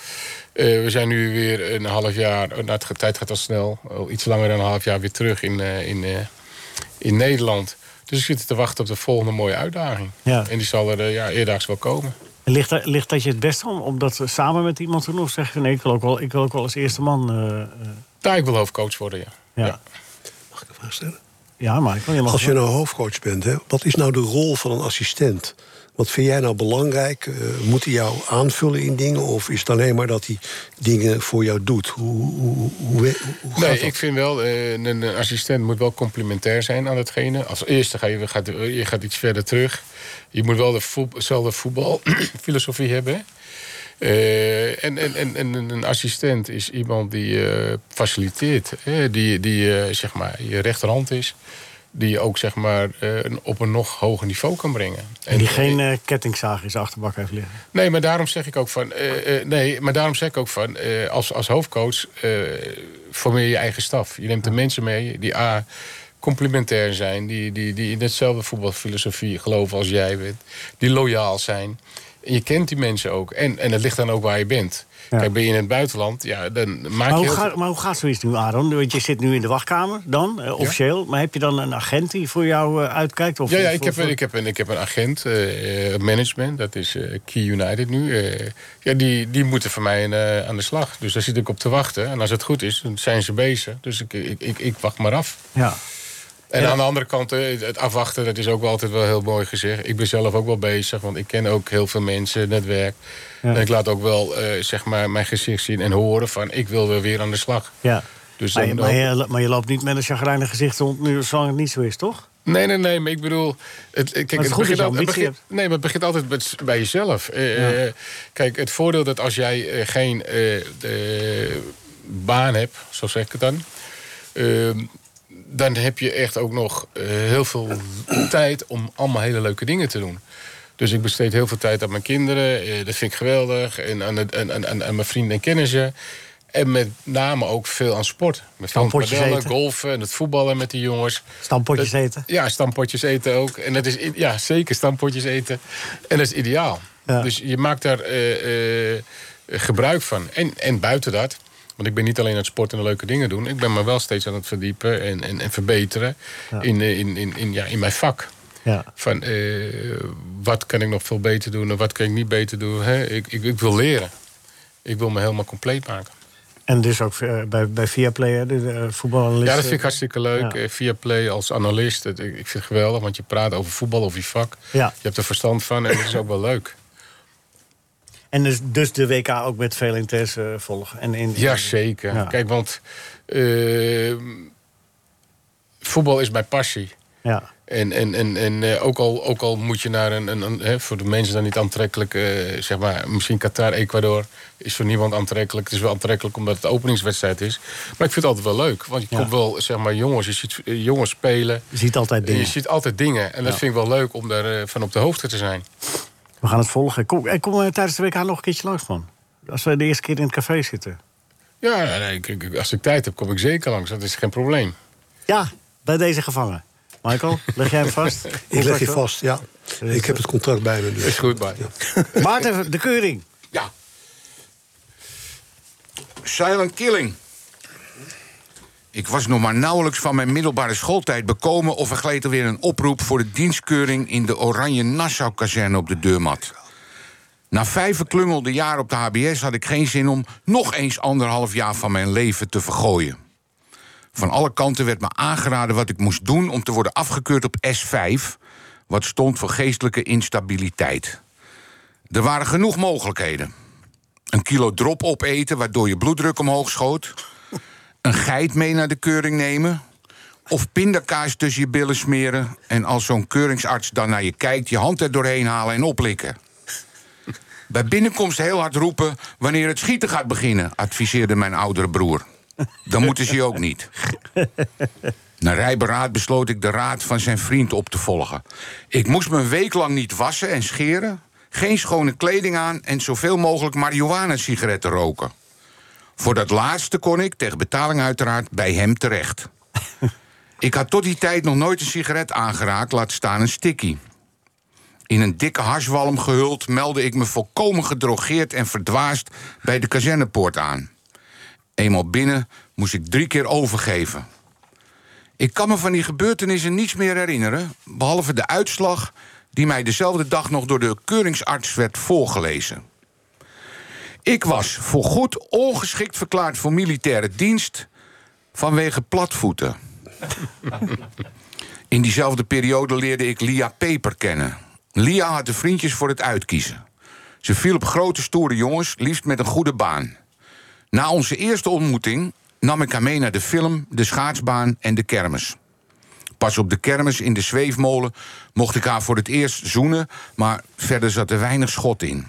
Eh, we zijn nu weer een half jaar, eh, nou, de tijd gaat al snel, al iets langer dan een half jaar weer terug in, eh, in, eh, in Nederland. Dus ik zit te wachten op de volgende mooie uitdaging.
Ja.
En die zal er eh, ja, eerdaags wel komen.
Ligt, dat- ligt dat je het best om, om dat samen met iemand te doen? Of zeg je, nee, ik wil ook wel, ik wil ook wel als eerste man... eh, eh,
Daar Nou, ik wil hoofdcoach worden, ja.
ja.
Mag ik een vraag stellen?
ja, maar ik wil je mag
Als je
wel-
nou hoofdcoach bent, hè, wat is nou de rol van een assistent? Wat vind jij nou belangrijk? Eh, moet hij jou aanvullen in dingen? Of is het alleen maar dat hij dingen voor jou doet? Hoe, hoe, hoe, hoe, hoe gaat
Nee,
dat?
ik vind wel, eh, een, een assistent moet wel complementair zijn aan datgene. Als eerste ga je, gaat, je gaat iets verder terug. Je moet wel de voet- dezelfde voetbalfilosofie hebben. hè. Eh, en, en, en, en een assistent is iemand die eh, faciliteert. hè, die die eh, zeg maar, je rechterhand is. Die je ook zeg maar, eh, een- op een nog hoger niveau kan brengen.
En die geen eh, kettingzaag in zijn achterbak heeft liggen.
Nee, maar daarom zeg ik ook van. eh, eh, nee, maar daarom zeg ik ook van. eh, als, als hoofdcoach eh, formeer je eigen staf. Je neemt de mensen mee die A. complementair zijn. Die, die, die in hetzelfde voetbalfilosofie geloven als jij bent. Die loyaal zijn. En je kent die mensen ook. En, en het ligt dan ook waar je bent.
Ja.
Kijk, ben je in het buitenland, ja, dan maak
Maar
je.
hoe,
heel
ga-
veel-
maar hoe gaat zoiets nu, Aaron? Want je zit nu in de wachtkamer dan, eh, officieel. Maar heb je dan een agent die voor jou eh, uitkijkt? Of,
Ja, ja
of-
ik, heb,
of-
een- ik, heb een, ik heb een agent, eh, eh, management, dat is eh, Key United nu. eh, ja, die, die moeten voor mij eh, aan de slag. Dus daar zit ik op te wachten. En als het goed is, dan zijn ze bezig. Dus ik, ik, ik, ik wacht maar af.
Ja.
En aan de andere kant, eh, het afwachten, dat is ook wel altijd wel heel mooi gezegd. Ik ben zelf ook wel bezig, want ik ken ook heel veel mensen, netwerk.
Ja.
En ik laat ook wel eh, zeg maar mijn gezicht zien en horen van ik wil weer weer aan de slag.
ja.
Dus
maar, je,
dan-
maar, je, maar je loopt niet met een chagrijnig gezicht rond nu, zolang het niet zo is, toch?
Nee, nee, nee, maar ik bedoel... Het, kijk,
is
het,
goed dat
begint,
je
al- het
ambitie
begint- nee, maar het begint altijd met, bij jezelf. Eh, eh, kijk, het voordeel dat als jij eh, geen eh, eh, baan hebt, zo zeg ik het dan... ehm, dan heb je echt ook nog eh, heel veel tijd om allemaal hele leuke dingen te doen. Dus ik besteed heel veel tijd aan mijn kinderen. eh, dat vind ik geweldig. En aan, het, en- en- en- aan mijn vrienden en kennissen. En met name ook veel aan sport. Met veel
Stampotjes
padellen,
eten.
golfen en het voetballen met die jongens.
Stampotjes
Dat-
eten.
ja, stampotjes eten ook. En dat is, i- ja, zeker stampotjes eten. En dat is ideaal.
Ja.
Dus je maakt daar eh, eh, gebruik van. En, en buiten dat, want ik ben niet alleen aan het sporten en leuke dingen doen. Ik ben me wel steeds aan het verdiepen en, en, en verbeteren in, eh, in, in, in, ja, in mijn vak.
Ja.
Van eh, wat kan ik nog veel beter doen en wat kan ik niet beter doen. Hè? Ik, ik, ik wil leren. Ik wil me helemaal compleet maken.
En dus ook eh, bij, bij Viaplay, hè, de, de voetbalanalist.
Ja, dat vind ik hartstikke leuk.
Ja.
Eh, Via Play als analist. Het- Ik ik vind het geweldig, want je praat over voetbal, over je vak.
Ja.
Je hebt er verstand van en dat is ook wel leuk.
En dus, dus de WK ook met veel interesse volgen. En in,
Jazeker.
Ja.
Kijk, want eh, voetbal is mijn passie.
Ja.
En, en, en, en eh, ook, al, ook al moet je naar een, een, een- hè, voor de mensen dan niet aantrekkelijk, eh, zeg maar, misschien Qatar, Ecuador, is voor niemand aantrekkelijk. Het is wel aantrekkelijk omdat het openingswedstrijd is. Maar ik vind het altijd wel leuk, want je komt wel, zeg maar, jongens, je ziet eh, jongens spelen.
Je ziet altijd dingen.
Je ziet altijd dingen. En dat
Ja.
vind ik wel leuk om daar eh, van op de hoogte te zijn.
We gaan het volgen. Kom, eh, kom eh, tijdens de WK nog een keertje langs, man. Als we de eerste keer in het café zitten.
Ja, nee, nee, ik- ik- als ik tijd heb, kom ik zeker langs. Dat is geen probleem.
Ja, bij deze gevangen. Michael, leg jij hem vast?
Ik leg je vast, ja. Ik heb het contract bij me. Dus.
Is goed, bij.
Maarten, de keuring.
Ja. Silent Killing. Ik was nog maar nauwelijks van mijn middelbare schooltijd bekomen... of er gleed er weer een oproep voor de dienstkeuring... in de Oranje-Nassau-kazerne op de deurmat. Na vijf verklungelde jaar op de HBS had ik geen zin om... nog eens anderhalf jaar van mijn leven te vergooien. Van alle kanten werd me aangeraden wat ik moest doen... om te worden afgekeurd op S5, wat stond voor geestelijke instabiliteit. Er waren genoeg mogelijkheden. Een kilo drop opeten, waardoor je bloeddruk omhoog schoot. Een geit mee naar de keuring nemen. Of pindakaas tussen je billen smeren. En als zo'n keuringsarts dan naar je kijkt, je hand er doorheen halen en oplikken. Bij binnenkomst heel hard roepen wanneer het schieten gaat beginnen, adviseerde mijn oudere broer. Dan moeten ze je ook niet. Na rijberaad besloot ik de raad van zijn vriend op te volgen. Ik moest me een week lang niet wassen en scheren, geen schone kleding aan en zoveel mogelijk marihuana-sigaretten roken. Voor dat laatste kon ik, tegen betaling uiteraard, bij hem terecht. ik had tot die tijd nog nooit een sigaret aangeraakt, laat staan een stikkie. In een dikke harswalm gehuld meldde ik me volkomen gedrogeerd en verdwaasd bij de kazernepoort aan. Eenmaal binnen moest ik drie keer overgeven. Ik kan me van die gebeurtenissen niets meer herinneren, behalve de uitslag die mij dezelfde dag nog door de keuringsarts werd voorgelezen. Ik was voorgoed ongeschikt verklaard voor militaire dienst vanwege platvoeten. In diezelfde periode leerde ik Lia Peper kennen. Lia had de vriendjes voor het uitkiezen. Ze viel op grote stoere jongens, liefst met een goede baan. Na onze eerste ontmoeting nam ik haar mee naar de film, de schaatsbaan en de kermis. Pas op de kermis in de zweefmolen mocht ik haar voor het eerst zoenen, maar verder zat er weinig schot in.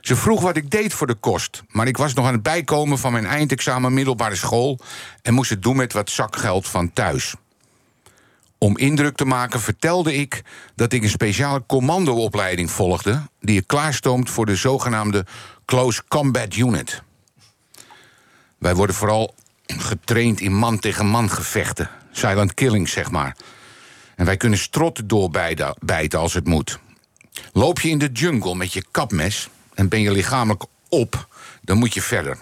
Ze vroeg wat ik deed voor de kost, maar ik was nog aan het bijkomen van mijn eindexamen middelbare school en moest het doen met wat zakgeld van thuis. Om indruk te maken vertelde ik dat ik een speciale commandoopleiding volgde, die je klaarstoomt voor de zogenaamde Close Combat Unit. Wij worden vooral getraind in man-tegen-man gevechten. Silent killing, zeg maar. En wij kunnen strot doorbijten bijten als het moet. Loop je in de jungle met je kapmes en ben je lichamelijk op, dan moet je verder.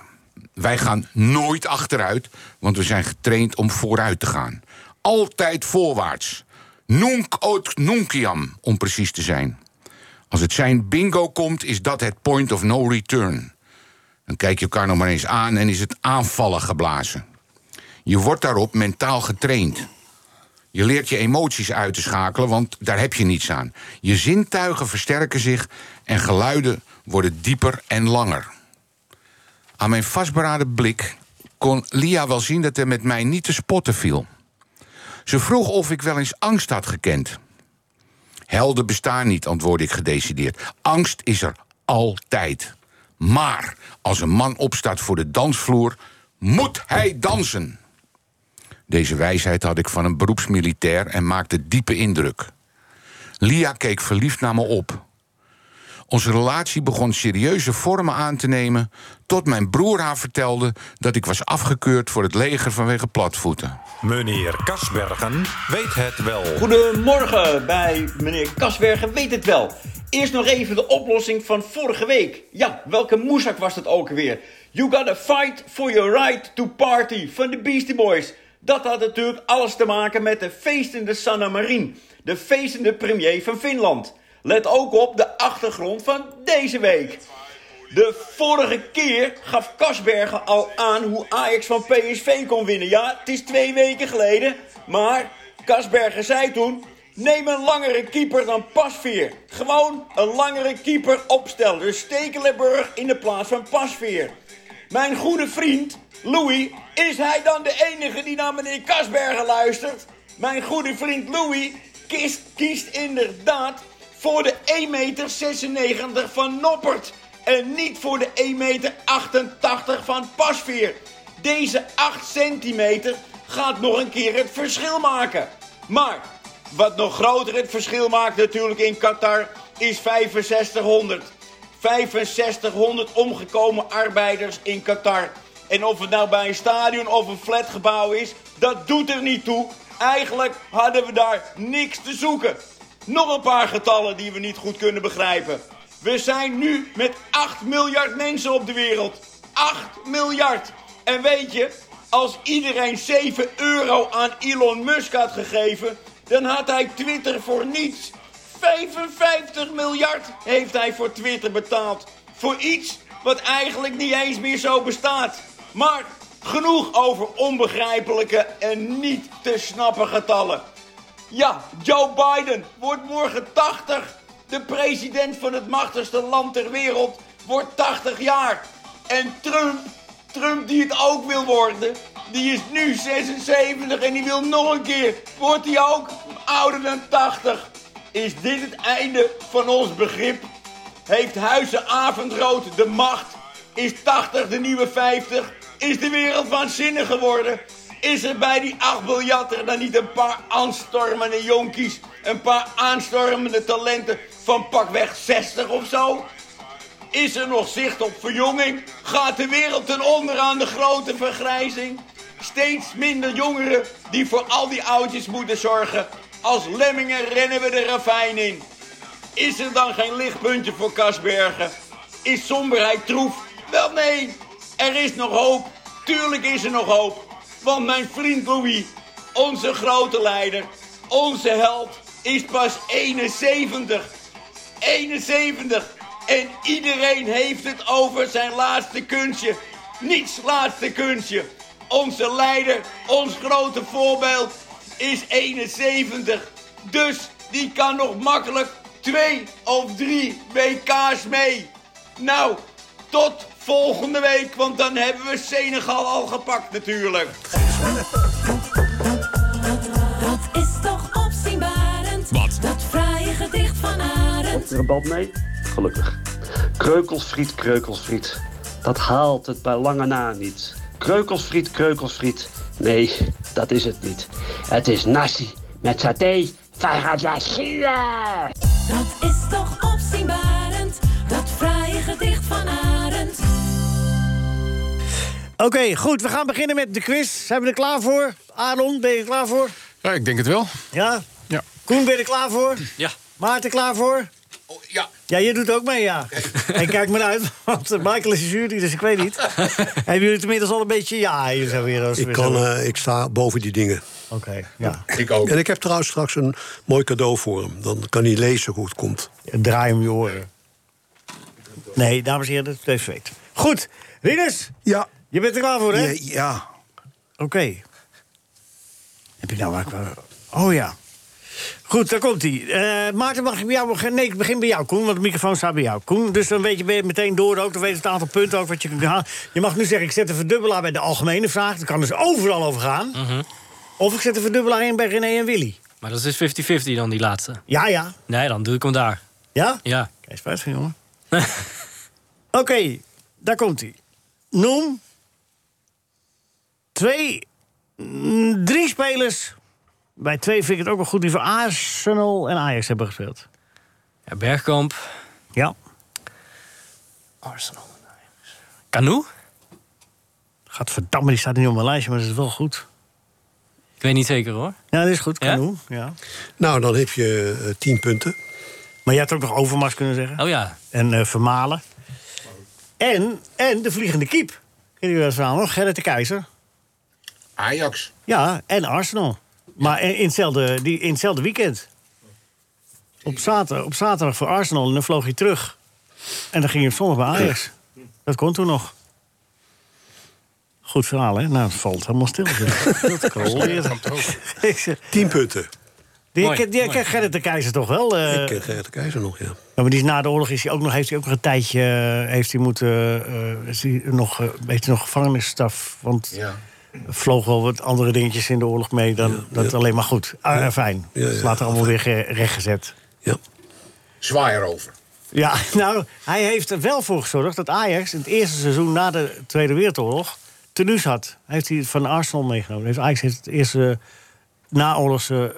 Wij gaan nooit achteruit, want we zijn getraind om vooruit te gaan. Altijd voorwaarts. Nunc ot nuntiam, om precies te zijn. Als het zijn bingo komt, is dat het point of no return. Dan kijk je elkaar nog maar eens aan en is het aanvallen geblazen. Je wordt daarop mentaal getraind. Je leert je emoties uit te schakelen, want daar heb je niets aan. Je zintuigen versterken zich en geluiden worden dieper en langer. Aan mijn vastberaden blik kon Lia wel zien dat er met mij niet te spotten viel. Ze vroeg of ik wel eens angst had gekend. Helden bestaan niet, antwoordde ik gedecideerd. Angst is er altijd. Maar als een man opstaat voor de dansvloer, moet hij dansen. Deze wijsheid had ik van een beroepsmilitair en maakte diepe indruk. Lia keek verliefd naar me op. Onze relatie begon serieuze vormen aan te nemen, tot mijn broer haar vertelde dat ik was afgekeurd voor het leger vanwege platvoeten.
Meneer Kasbergen weet het wel.
Goedemorgen bij meneer Kasbergen weet het wel. Eerst nog even de oplossing van vorige week. Ja, welke moesak was dat ook alweer? You gotta fight for your right to party van de Beastie Boys. Dat had natuurlijk alles te maken met de feestende Sanna Marin. De feestende premier van Finland. Let ook op de achtergrond van deze week. De vorige keer gaf Kasbergen al aan hoe Ajax van PSV kon winnen. Ja, het is twee weken geleden, maar Kasbergen zei toen... Neem een langere keeper dan Pasveer. Gewoon een langere keeper opstellen. Dus Stekelenburg in de plaats van Pasveer. Mijn goede vriend, Louis, is hij dan de enige die naar meneer Kasbergen luistert? Mijn goede vriend Louis kiest, kiest inderdaad voor de 1,96 meter van Noppert. En niet voor de 1,88 meter van Pasveer. Deze 8 centimeter gaat nog een keer het verschil maken. Maar wat nog groter het verschil maakt natuurlijk in Qatar is 6500. 6500 omgekomen arbeiders in Qatar. En of het nou bij een stadion of een flatgebouw is, dat doet er niet toe. Eigenlijk hadden we daar niks te zoeken. Nog een paar getallen die we niet goed kunnen begrijpen. We zijn nu met 8 miljard mensen op de wereld. 8 miljard. En weet je, als iedereen 7 euro aan Elon Musk had gegeven, dan had hij Twitter voor niets. 55 miljard heeft hij voor Twitter betaald. Voor iets wat eigenlijk niet eens meer zo bestaat. Maar genoeg over onbegrijpelijke en niet te snappen getallen. Ja, Joe Biden wordt morgen 80. De president van het machtigste land ter wereld wordt 80 jaar. En Trump, Trump die het ook wil worden, die is nu 76 en die wil nog een keer. Wordt hij ook ouder dan 80? Is dit het einde van ons begrip? Heeft Huizen Avondrood de macht? Is 80 de nieuwe 50? Is de wereld waanzinnig geworden? Is er bij die acht biljarter dan niet een paar aanstormende jonkies? Een paar aanstormende talenten van pakweg 60 of zo? Is er nog zicht op verjonging? Gaat de wereld ten onder aan de grote vergrijzing? Steeds minder jongeren die voor al die oudjes moeten zorgen. Als lemmingen rennen we de ravijn in. Is er dan geen lichtpuntje voor Kasbergen? Is somberheid troef? Wel nee, er is nog hoop. Tuurlijk is er nog hoop. Want mijn vriend Louis, onze grote leider, onze held, is pas 71. 71. En iedereen heeft het over zijn laatste kunstje. Niets laatste kunstje. Onze leider, ons grote voorbeeld, is 71. Dus die kan nog makkelijk twee of drie WK's mee. Nou, tot volgende week, want dan hebben we Senegal al gepakt natuurlijk.
Dat is toch opzienbarend? Wat? Dat fraaie gedicht van Arend.
Komt er een bal mee? Gelukkig. Kreukelsfriet, kreukelsfriet. Dat haalt het bij lange na niet. Kreukelsfriet, kreukelsfriet. Nee, dat is het niet. Het is nasi met saté van Radjasila.
Dat is toch opzienbarend? Dat fraaie gedicht van Arend.
Oké, goed. We gaan beginnen met de quiz. Zijn we er klaar voor? Aaron, ben je er klaar voor?
Ja, ik denk het wel.
Ja?
Ja.
Koen, ben je er klaar voor?
Ja.
Maarten, klaar voor?
Oh,
ja.
Ja, jij doet ook mee, ja. en kijk maar uit, want eh, Michael is een jury, dus ik weet niet. Hebben jullie het inmiddels al een beetje... Ja, Ah, je zijn weer...
Ik, kan, eh, ik sta boven die dingen.
Oké, ja.
Ik ook.
En ik heb trouwens straks een mooi cadeau voor hem. Dan kan hij lezen hoe het komt.
Draai hem je oren. Nee, dames en heren, dat heeft weten. Goed, Rinus.
Ja.
Je bent er klaar voor, hè?
Ja, ja.
Oké. Heb ik nou waar ik...
Eh,
Oh ja. Goed, daar komt hij. Eh, Maarten, mag ik bij jou beginnen? Nee, ik begin bij jou, Koen, want de microfoon staat bij jou. Koen, dus dan weet je ben je meteen door ook. Dan weet je het aantal punten ook wat je kunt halen. Je mag nu zeggen, ik zet een verdubbelaar bij de algemene vraag. Dat kan dus overal over gaan. Of ik zet een verdubbelaar in bij René en Willy.
Maar dat is 50-50 dan, die laatste.
Ja, ja.
Nee, dan doe ik hem daar.
Ja?
Ja.
Kijk, spijt van, jongen. Oké, daar komt hij. Noem twee, mm, drie spelers. Bij twee vind ik het ook wel goed die voor Arsenal en Ajax hebben gespeeld.
Ja, Bergkamp.
Ja.
Arsenal. Canoe?
Gadverdamme, die staat niet op mijn lijstje, maar dat is wel goed.
Ik weet niet zeker hoor.
Ja, dat is goed. Canoe, ja.
Nou, dan heb je eh, tien punten.
Maar je had ook nog Overmars kunnen zeggen.
Oh ja.
En eh, Vermalen. En, en de vliegende kiep. Kennen jullie dat verhaal nog? Gerrit de Keizer.
Ajax.
Ja, en Arsenal. Maar in in hetzelfde, die, in hetzelfde weekend. Op zaterdag, op zaterdag voor Arsenal en dan vloog hij terug. En dan ging hij op zondag bij Ajax. Dat kon toen nog. Goed verhaal, hè? Nou, het valt helemaal stil. Dat kan wel weer. Ik zeg-
Tien punten.
Die,
Mooi,
die, die
mooi.
kent Gerrit de Keizer toch wel? eh?
Ik ken Gerrit de Keizer nog, ja.
Ja, maar die is na de oorlog is hij ook nog, heeft hij ook nog een tijdje eh, heeft hij moeten, eh, is hij nog, eh, heeft hij nog gevangenisstaf. Want er vloog wel wat andere dingetjes in de oorlog mee dan dat
ja.
alleen maar goed. Ah,
Ja.
eh, fijn.
Ja, ja,
is later allemaal weer ge- rechtgezet.
Zwaai erover.
Ja, nou, hij heeft er wel voor gezorgd dat Ajax in het eerste seizoen na de Tweede Wereldoorlog tenues had. Hij Heeft hij van Arsenal meegenomen. Heeft Ajax heeft het eerste naoorlogse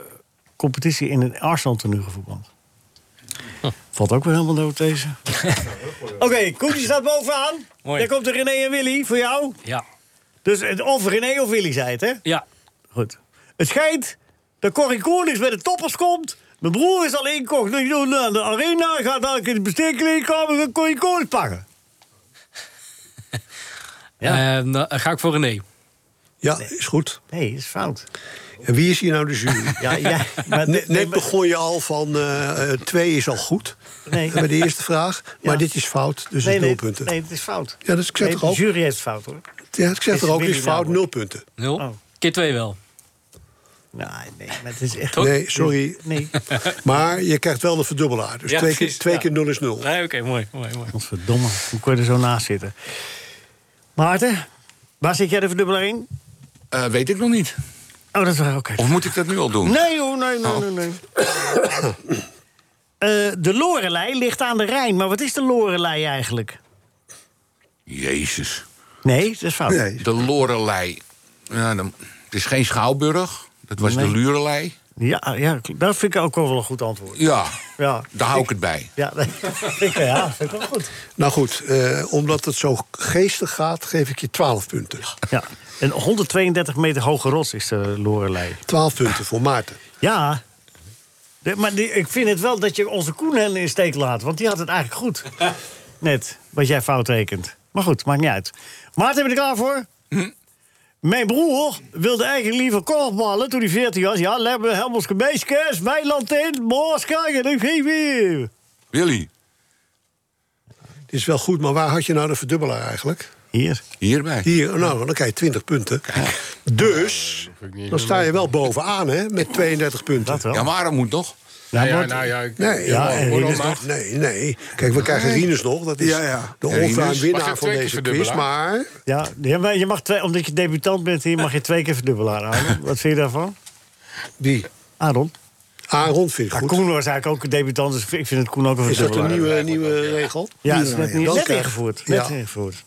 competitie in een Arsenal tenue gevoetbald. Valt ook weer helemaal dood deze. Oké, Koen die staat bovenaan.
Mooi.
Daar komt er René en Willy voor jou.
Ja.
Dus het- of René of Willy zei het, hè?
Ja.
Goed. Het schijnt dat Corrie Konings bij de toppers komt. Mijn broer is al inkocht naar de arena. Gaat dadelijk in de bestekking komen en Corrie Konings pakken.
Ja. Eh, ga ik voor René.
Ja, is goed.
Nee, is fout.
En wie is hier nou de jury?
Ja, ja, maar-
net net begon je al van eh, eh, twee is al goed.
Nee.
Bij de eerste vraag. Maar dit is fout, dus
nee,
het nul
nee,
punten.
nee, het is fout.
Ja, dus ik zeg
Nee,
toch ook-
De jury heeft het fout, hoor.
Ja, ik zeg
Is
er ook,
Willy
is fout,
nou-
nul punten.
Nul. Keer twee wel.
Nee, nee, maar het is echt...
Nee, sorry.
Nee.
Maar je krijgt wel de verdubbelaar. Dus
Ja,
twee, keer,
precies,
twee
ja.
keer nul is nul.
Nee, oké, mooi, mooi, mooi.
Godverdomme, hoe kun je er zo naast zitten? Maarten, waar zit jij de verdubbelaar in?
Eh, weet ik nog niet.
Oh, dat is oké.
Of moet ik dat nu al doen? Oh.
Nee hoor, nee, nee, nee. nee. Eh, de Lorelei ligt aan de Rijn, maar wat is de Lorelei eigenlijk?
Jezus.
Nee, dat is fout.
De Lorelei. Ja, dan, het is geen Schouwburg. Dat was
Nee.
de Lurelei.
Ja, ja, dat vind ik ook wel een goed antwoord.
Ja,
Ja,
daar hou ik het bij.
ja, ik, ja dat vind ik wel goed.
Nou goed, eh, omdat het zo geestig gaat, geef ik je 12 punten.
Ja, een 132 meter hoge rots is de Lorelei.
12 punten voor Maarten.
Ja, De- maar die, ik vind het wel dat je onze Koen hen in steek laat. Want die had het eigenlijk goed. Net, wat jij fout rekent. Maar goed, maakt niet uit. Maarten, ben je er klaar voor?
Hm.
Mijn broer wilde eigenlijk liever korfballen toen hij 14 was. Ja, leg me helemaal gemeeskers, mijn land in, moors kijken, ik geef hier.
Willy.
Dit is wel goed, maar waar had je nou de verdubbelaar eigenlijk?
Hier.
Hierbij.
Hier, nou, dan krijg je 20 punten. Dus, dan sta je wel bovenaan, hè, met 32 punten. Dat
wel.
Ja, maar dat moet nog.
Nou ja, nou ja, ik-
Nee,
Ja,
eh,
ja,
en Rinus
maar-
nog.
nee, nee. Kijk, we krijgen
Nee.
Rinus nog. Dat is
Ja, ja.
de
Ja, Rinus.
all-time
Mag
winnaar
je
van
twee keer
deze quiz.
verdubbelaar?
Maar
Ja, ja, maar je mag twee, omdat je debutant bent hier, mag je twee keer verdubbelaar houden. Wat vind je daarvan?
Die?
Aaron.
Aaron vind ik
goed. Koen was eigenlijk ook een debutant, dus ik vind het Koen ook een
is dat een
verdubbelaar.
nieuwe, nieuwe regel?
Ja, is net,
dan
niet net
krijg-
ingevoerd.
Ja.
Net ingevoerd.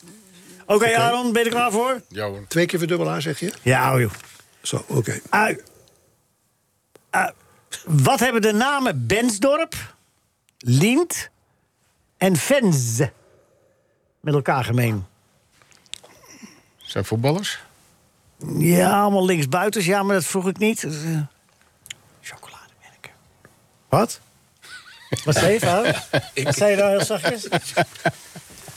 Oké, Aaron, ben je er klaar voor?
Ja hoor.
Twee keer verdubbelaar, zeg je?
Ja, joh.
Zo, oké.
Ui. Ui. Ah, wat hebben de namen Bensdorp, Lint en Vens met elkaar gemeen?
Zijn voetballers?
Ja, allemaal linksbuitens. Ja, maar dat vroeg ik niet. Dat is, eh, chocolademerken. Wat? Wat zei je nou? Wat zei je nou heel zachtjes?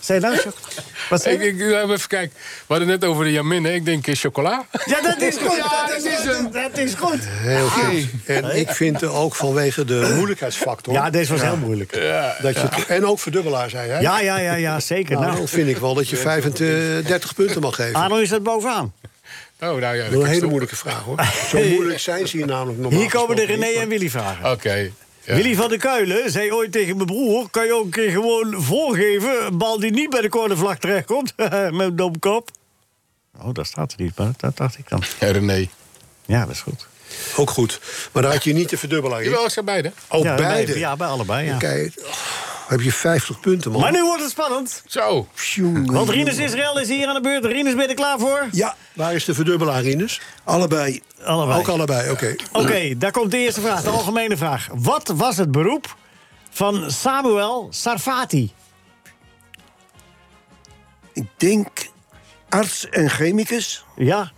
Zei je nou chocolade? Wat zei
Ik,
je?
ik, laat me even kijken. We hadden het net over de Jamin, hè? Ik denk eh, chocola.
Ja, dat is goed.
Ja,
dat, is
hem.
dat is goed.
Heel goed. En ik vind eh, ook vanwege de moeilijkheidsfactor...
Ja, deze was heel moeilijk.
Dat je het- en ook verdubbelaar, zei hij.
Ja, ja, ja, ja zeker.
Nou,
Nou,
dan vind ik wel dat je 35 punten mag geven.
Arno is dat bovenaan.
Oh, nou ja.
Dat
dat
is een
kan
hele
toch-
moeilijke vraag, hoor. Zo moeilijk zijn ze hier namelijk normaal
Hier komen de
gesproken
René
niet,
en Willy vragen.
Oké. ja.
Willy van der Kuilen zei ooit tegen mijn broer... kan je ook een keer gewoon voorgeven... een bal die niet bij de cornervlag terechtkomt. met een domkop. Oh, dat staat er niet, maar dat dacht ik dan.
Ja, René.
Ja, dat is goed.
maar- Ook goed. Maar daar had je niet de verdubbelaar in.
Jawel, ik zei beide.
Oh,
Ja, bij-
beide.
ja, bij allebei, ja.
Kijk, oh, heb je 50 punten, man.
Maar nu wordt het spannend.
Zo.
Pjoe.
Want Rinus Israël is hier aan de beurt. Rinus, ben je er klaar voor?
Ja, waar is de verdubbelaar, Rinus? Allebei.
Allebei.
Ook allebei, oké.
Oké, daar komt de eerste vraag, de algemene vraag. Wat was het beroep van Samuel Sarfati?
Ik denk arts en chemicus.
Ja,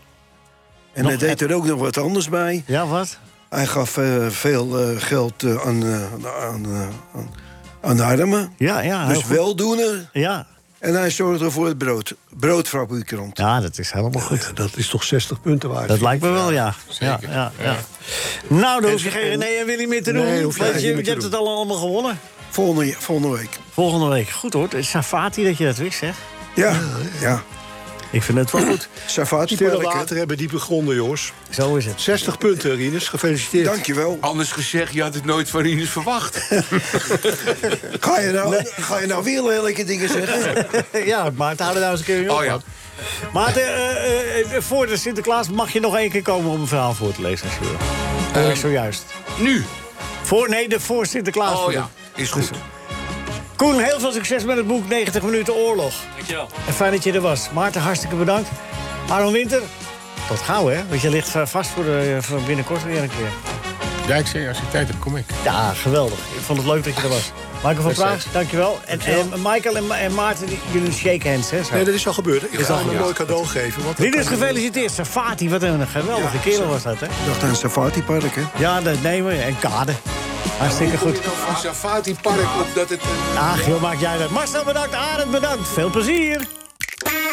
En hij deed er ook nog wat anders bij.
ja wat?
Hij gaf eh, veel eh, geld eh, aan, eh, aan, eh, aan, aan de armen.
Ja, ja. heel
dus
goed.
weldoener.
Ja.
En hij zorgde voor het brood. Broodfabrikant.
ja, dat is helemaal goed.
Dat is toch 60 punten waard?
Dat lijkt me wel, ja. Ja,
Zeker.
ja, ja. Nou, dan hoef je
En-
geen René en Willy meer te
Nee,
doen.
hoef je
want
eigenlijk
je,
niet meer
je
te
hebt het al allemaal gewonnen.
Volgende, volgende week.
Volgende week. Goed hoor, het is Sarfati dat je dat wist, zeg.
Ja, ja.
Ik vind het wel goed.
Savaat Stille water hebben diepe gronden, jongens.
Zo is het.
60 punten, Rinus. Gefeliciteerd.
Dankjewel.
Anders gezegd, je had het nooit van Rinus verwacht.
Ga je nou, ga je nou weer lelijke dingen zeggen?
ja, Maarten, hou er nou eens een keer mee op.
Oh ja.
man. Maarten, eh, eh, eh, voor de Sinterklaas mag je nog één keer komen om een verhaal voor te lezen. als je wil. Hoor ik zojuist.
Ehm, Nu?
Voor, nee, de voor Sinterklaas.
Oh ja, is goed.
Koen, heel veel succes met het boek 90 minuten oorlog.
Dankjewel.
En fijn dat je er was. Maarten, hartstikke bedankt. Arno Winter, tot gauw hè. Want je ligt eh, vast voor, de, eh, voor binnenkort weer een keer.
Ja, ik zeg, als ik tijd heb, kom ik.
Ja, geweldig. Ik vond het leuk dat je er was. Michael van
Best
Praag,
leuk.
dankjewel. En,
Dankjewel.
en Michael en, Ma- en Maarten, die- jullie shake hands hè. zo.
Nee, dat is al gebeurd. Ik ga
Is al
hem een
gebeurd.
mooi cadeau geven. want dat
Dit is
kan-
gefeliciteerd, Safati. Wat een geweldige
Ja,
kerel
zo.
was dat, hè?
Dacht aan een safari-park, hè?
Ja, dat nemen we. En kade. Hartstikke goed.
Een Safati Park op dat het...
Ach, joh, maak jij dat. Marcel, bedankt. Arend, bedankt. Veel plezier.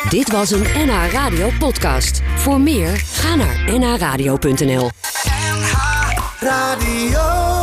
Dit was een NH Radio podcast. Voor meer, ga naar nhradio.nl.
Radio.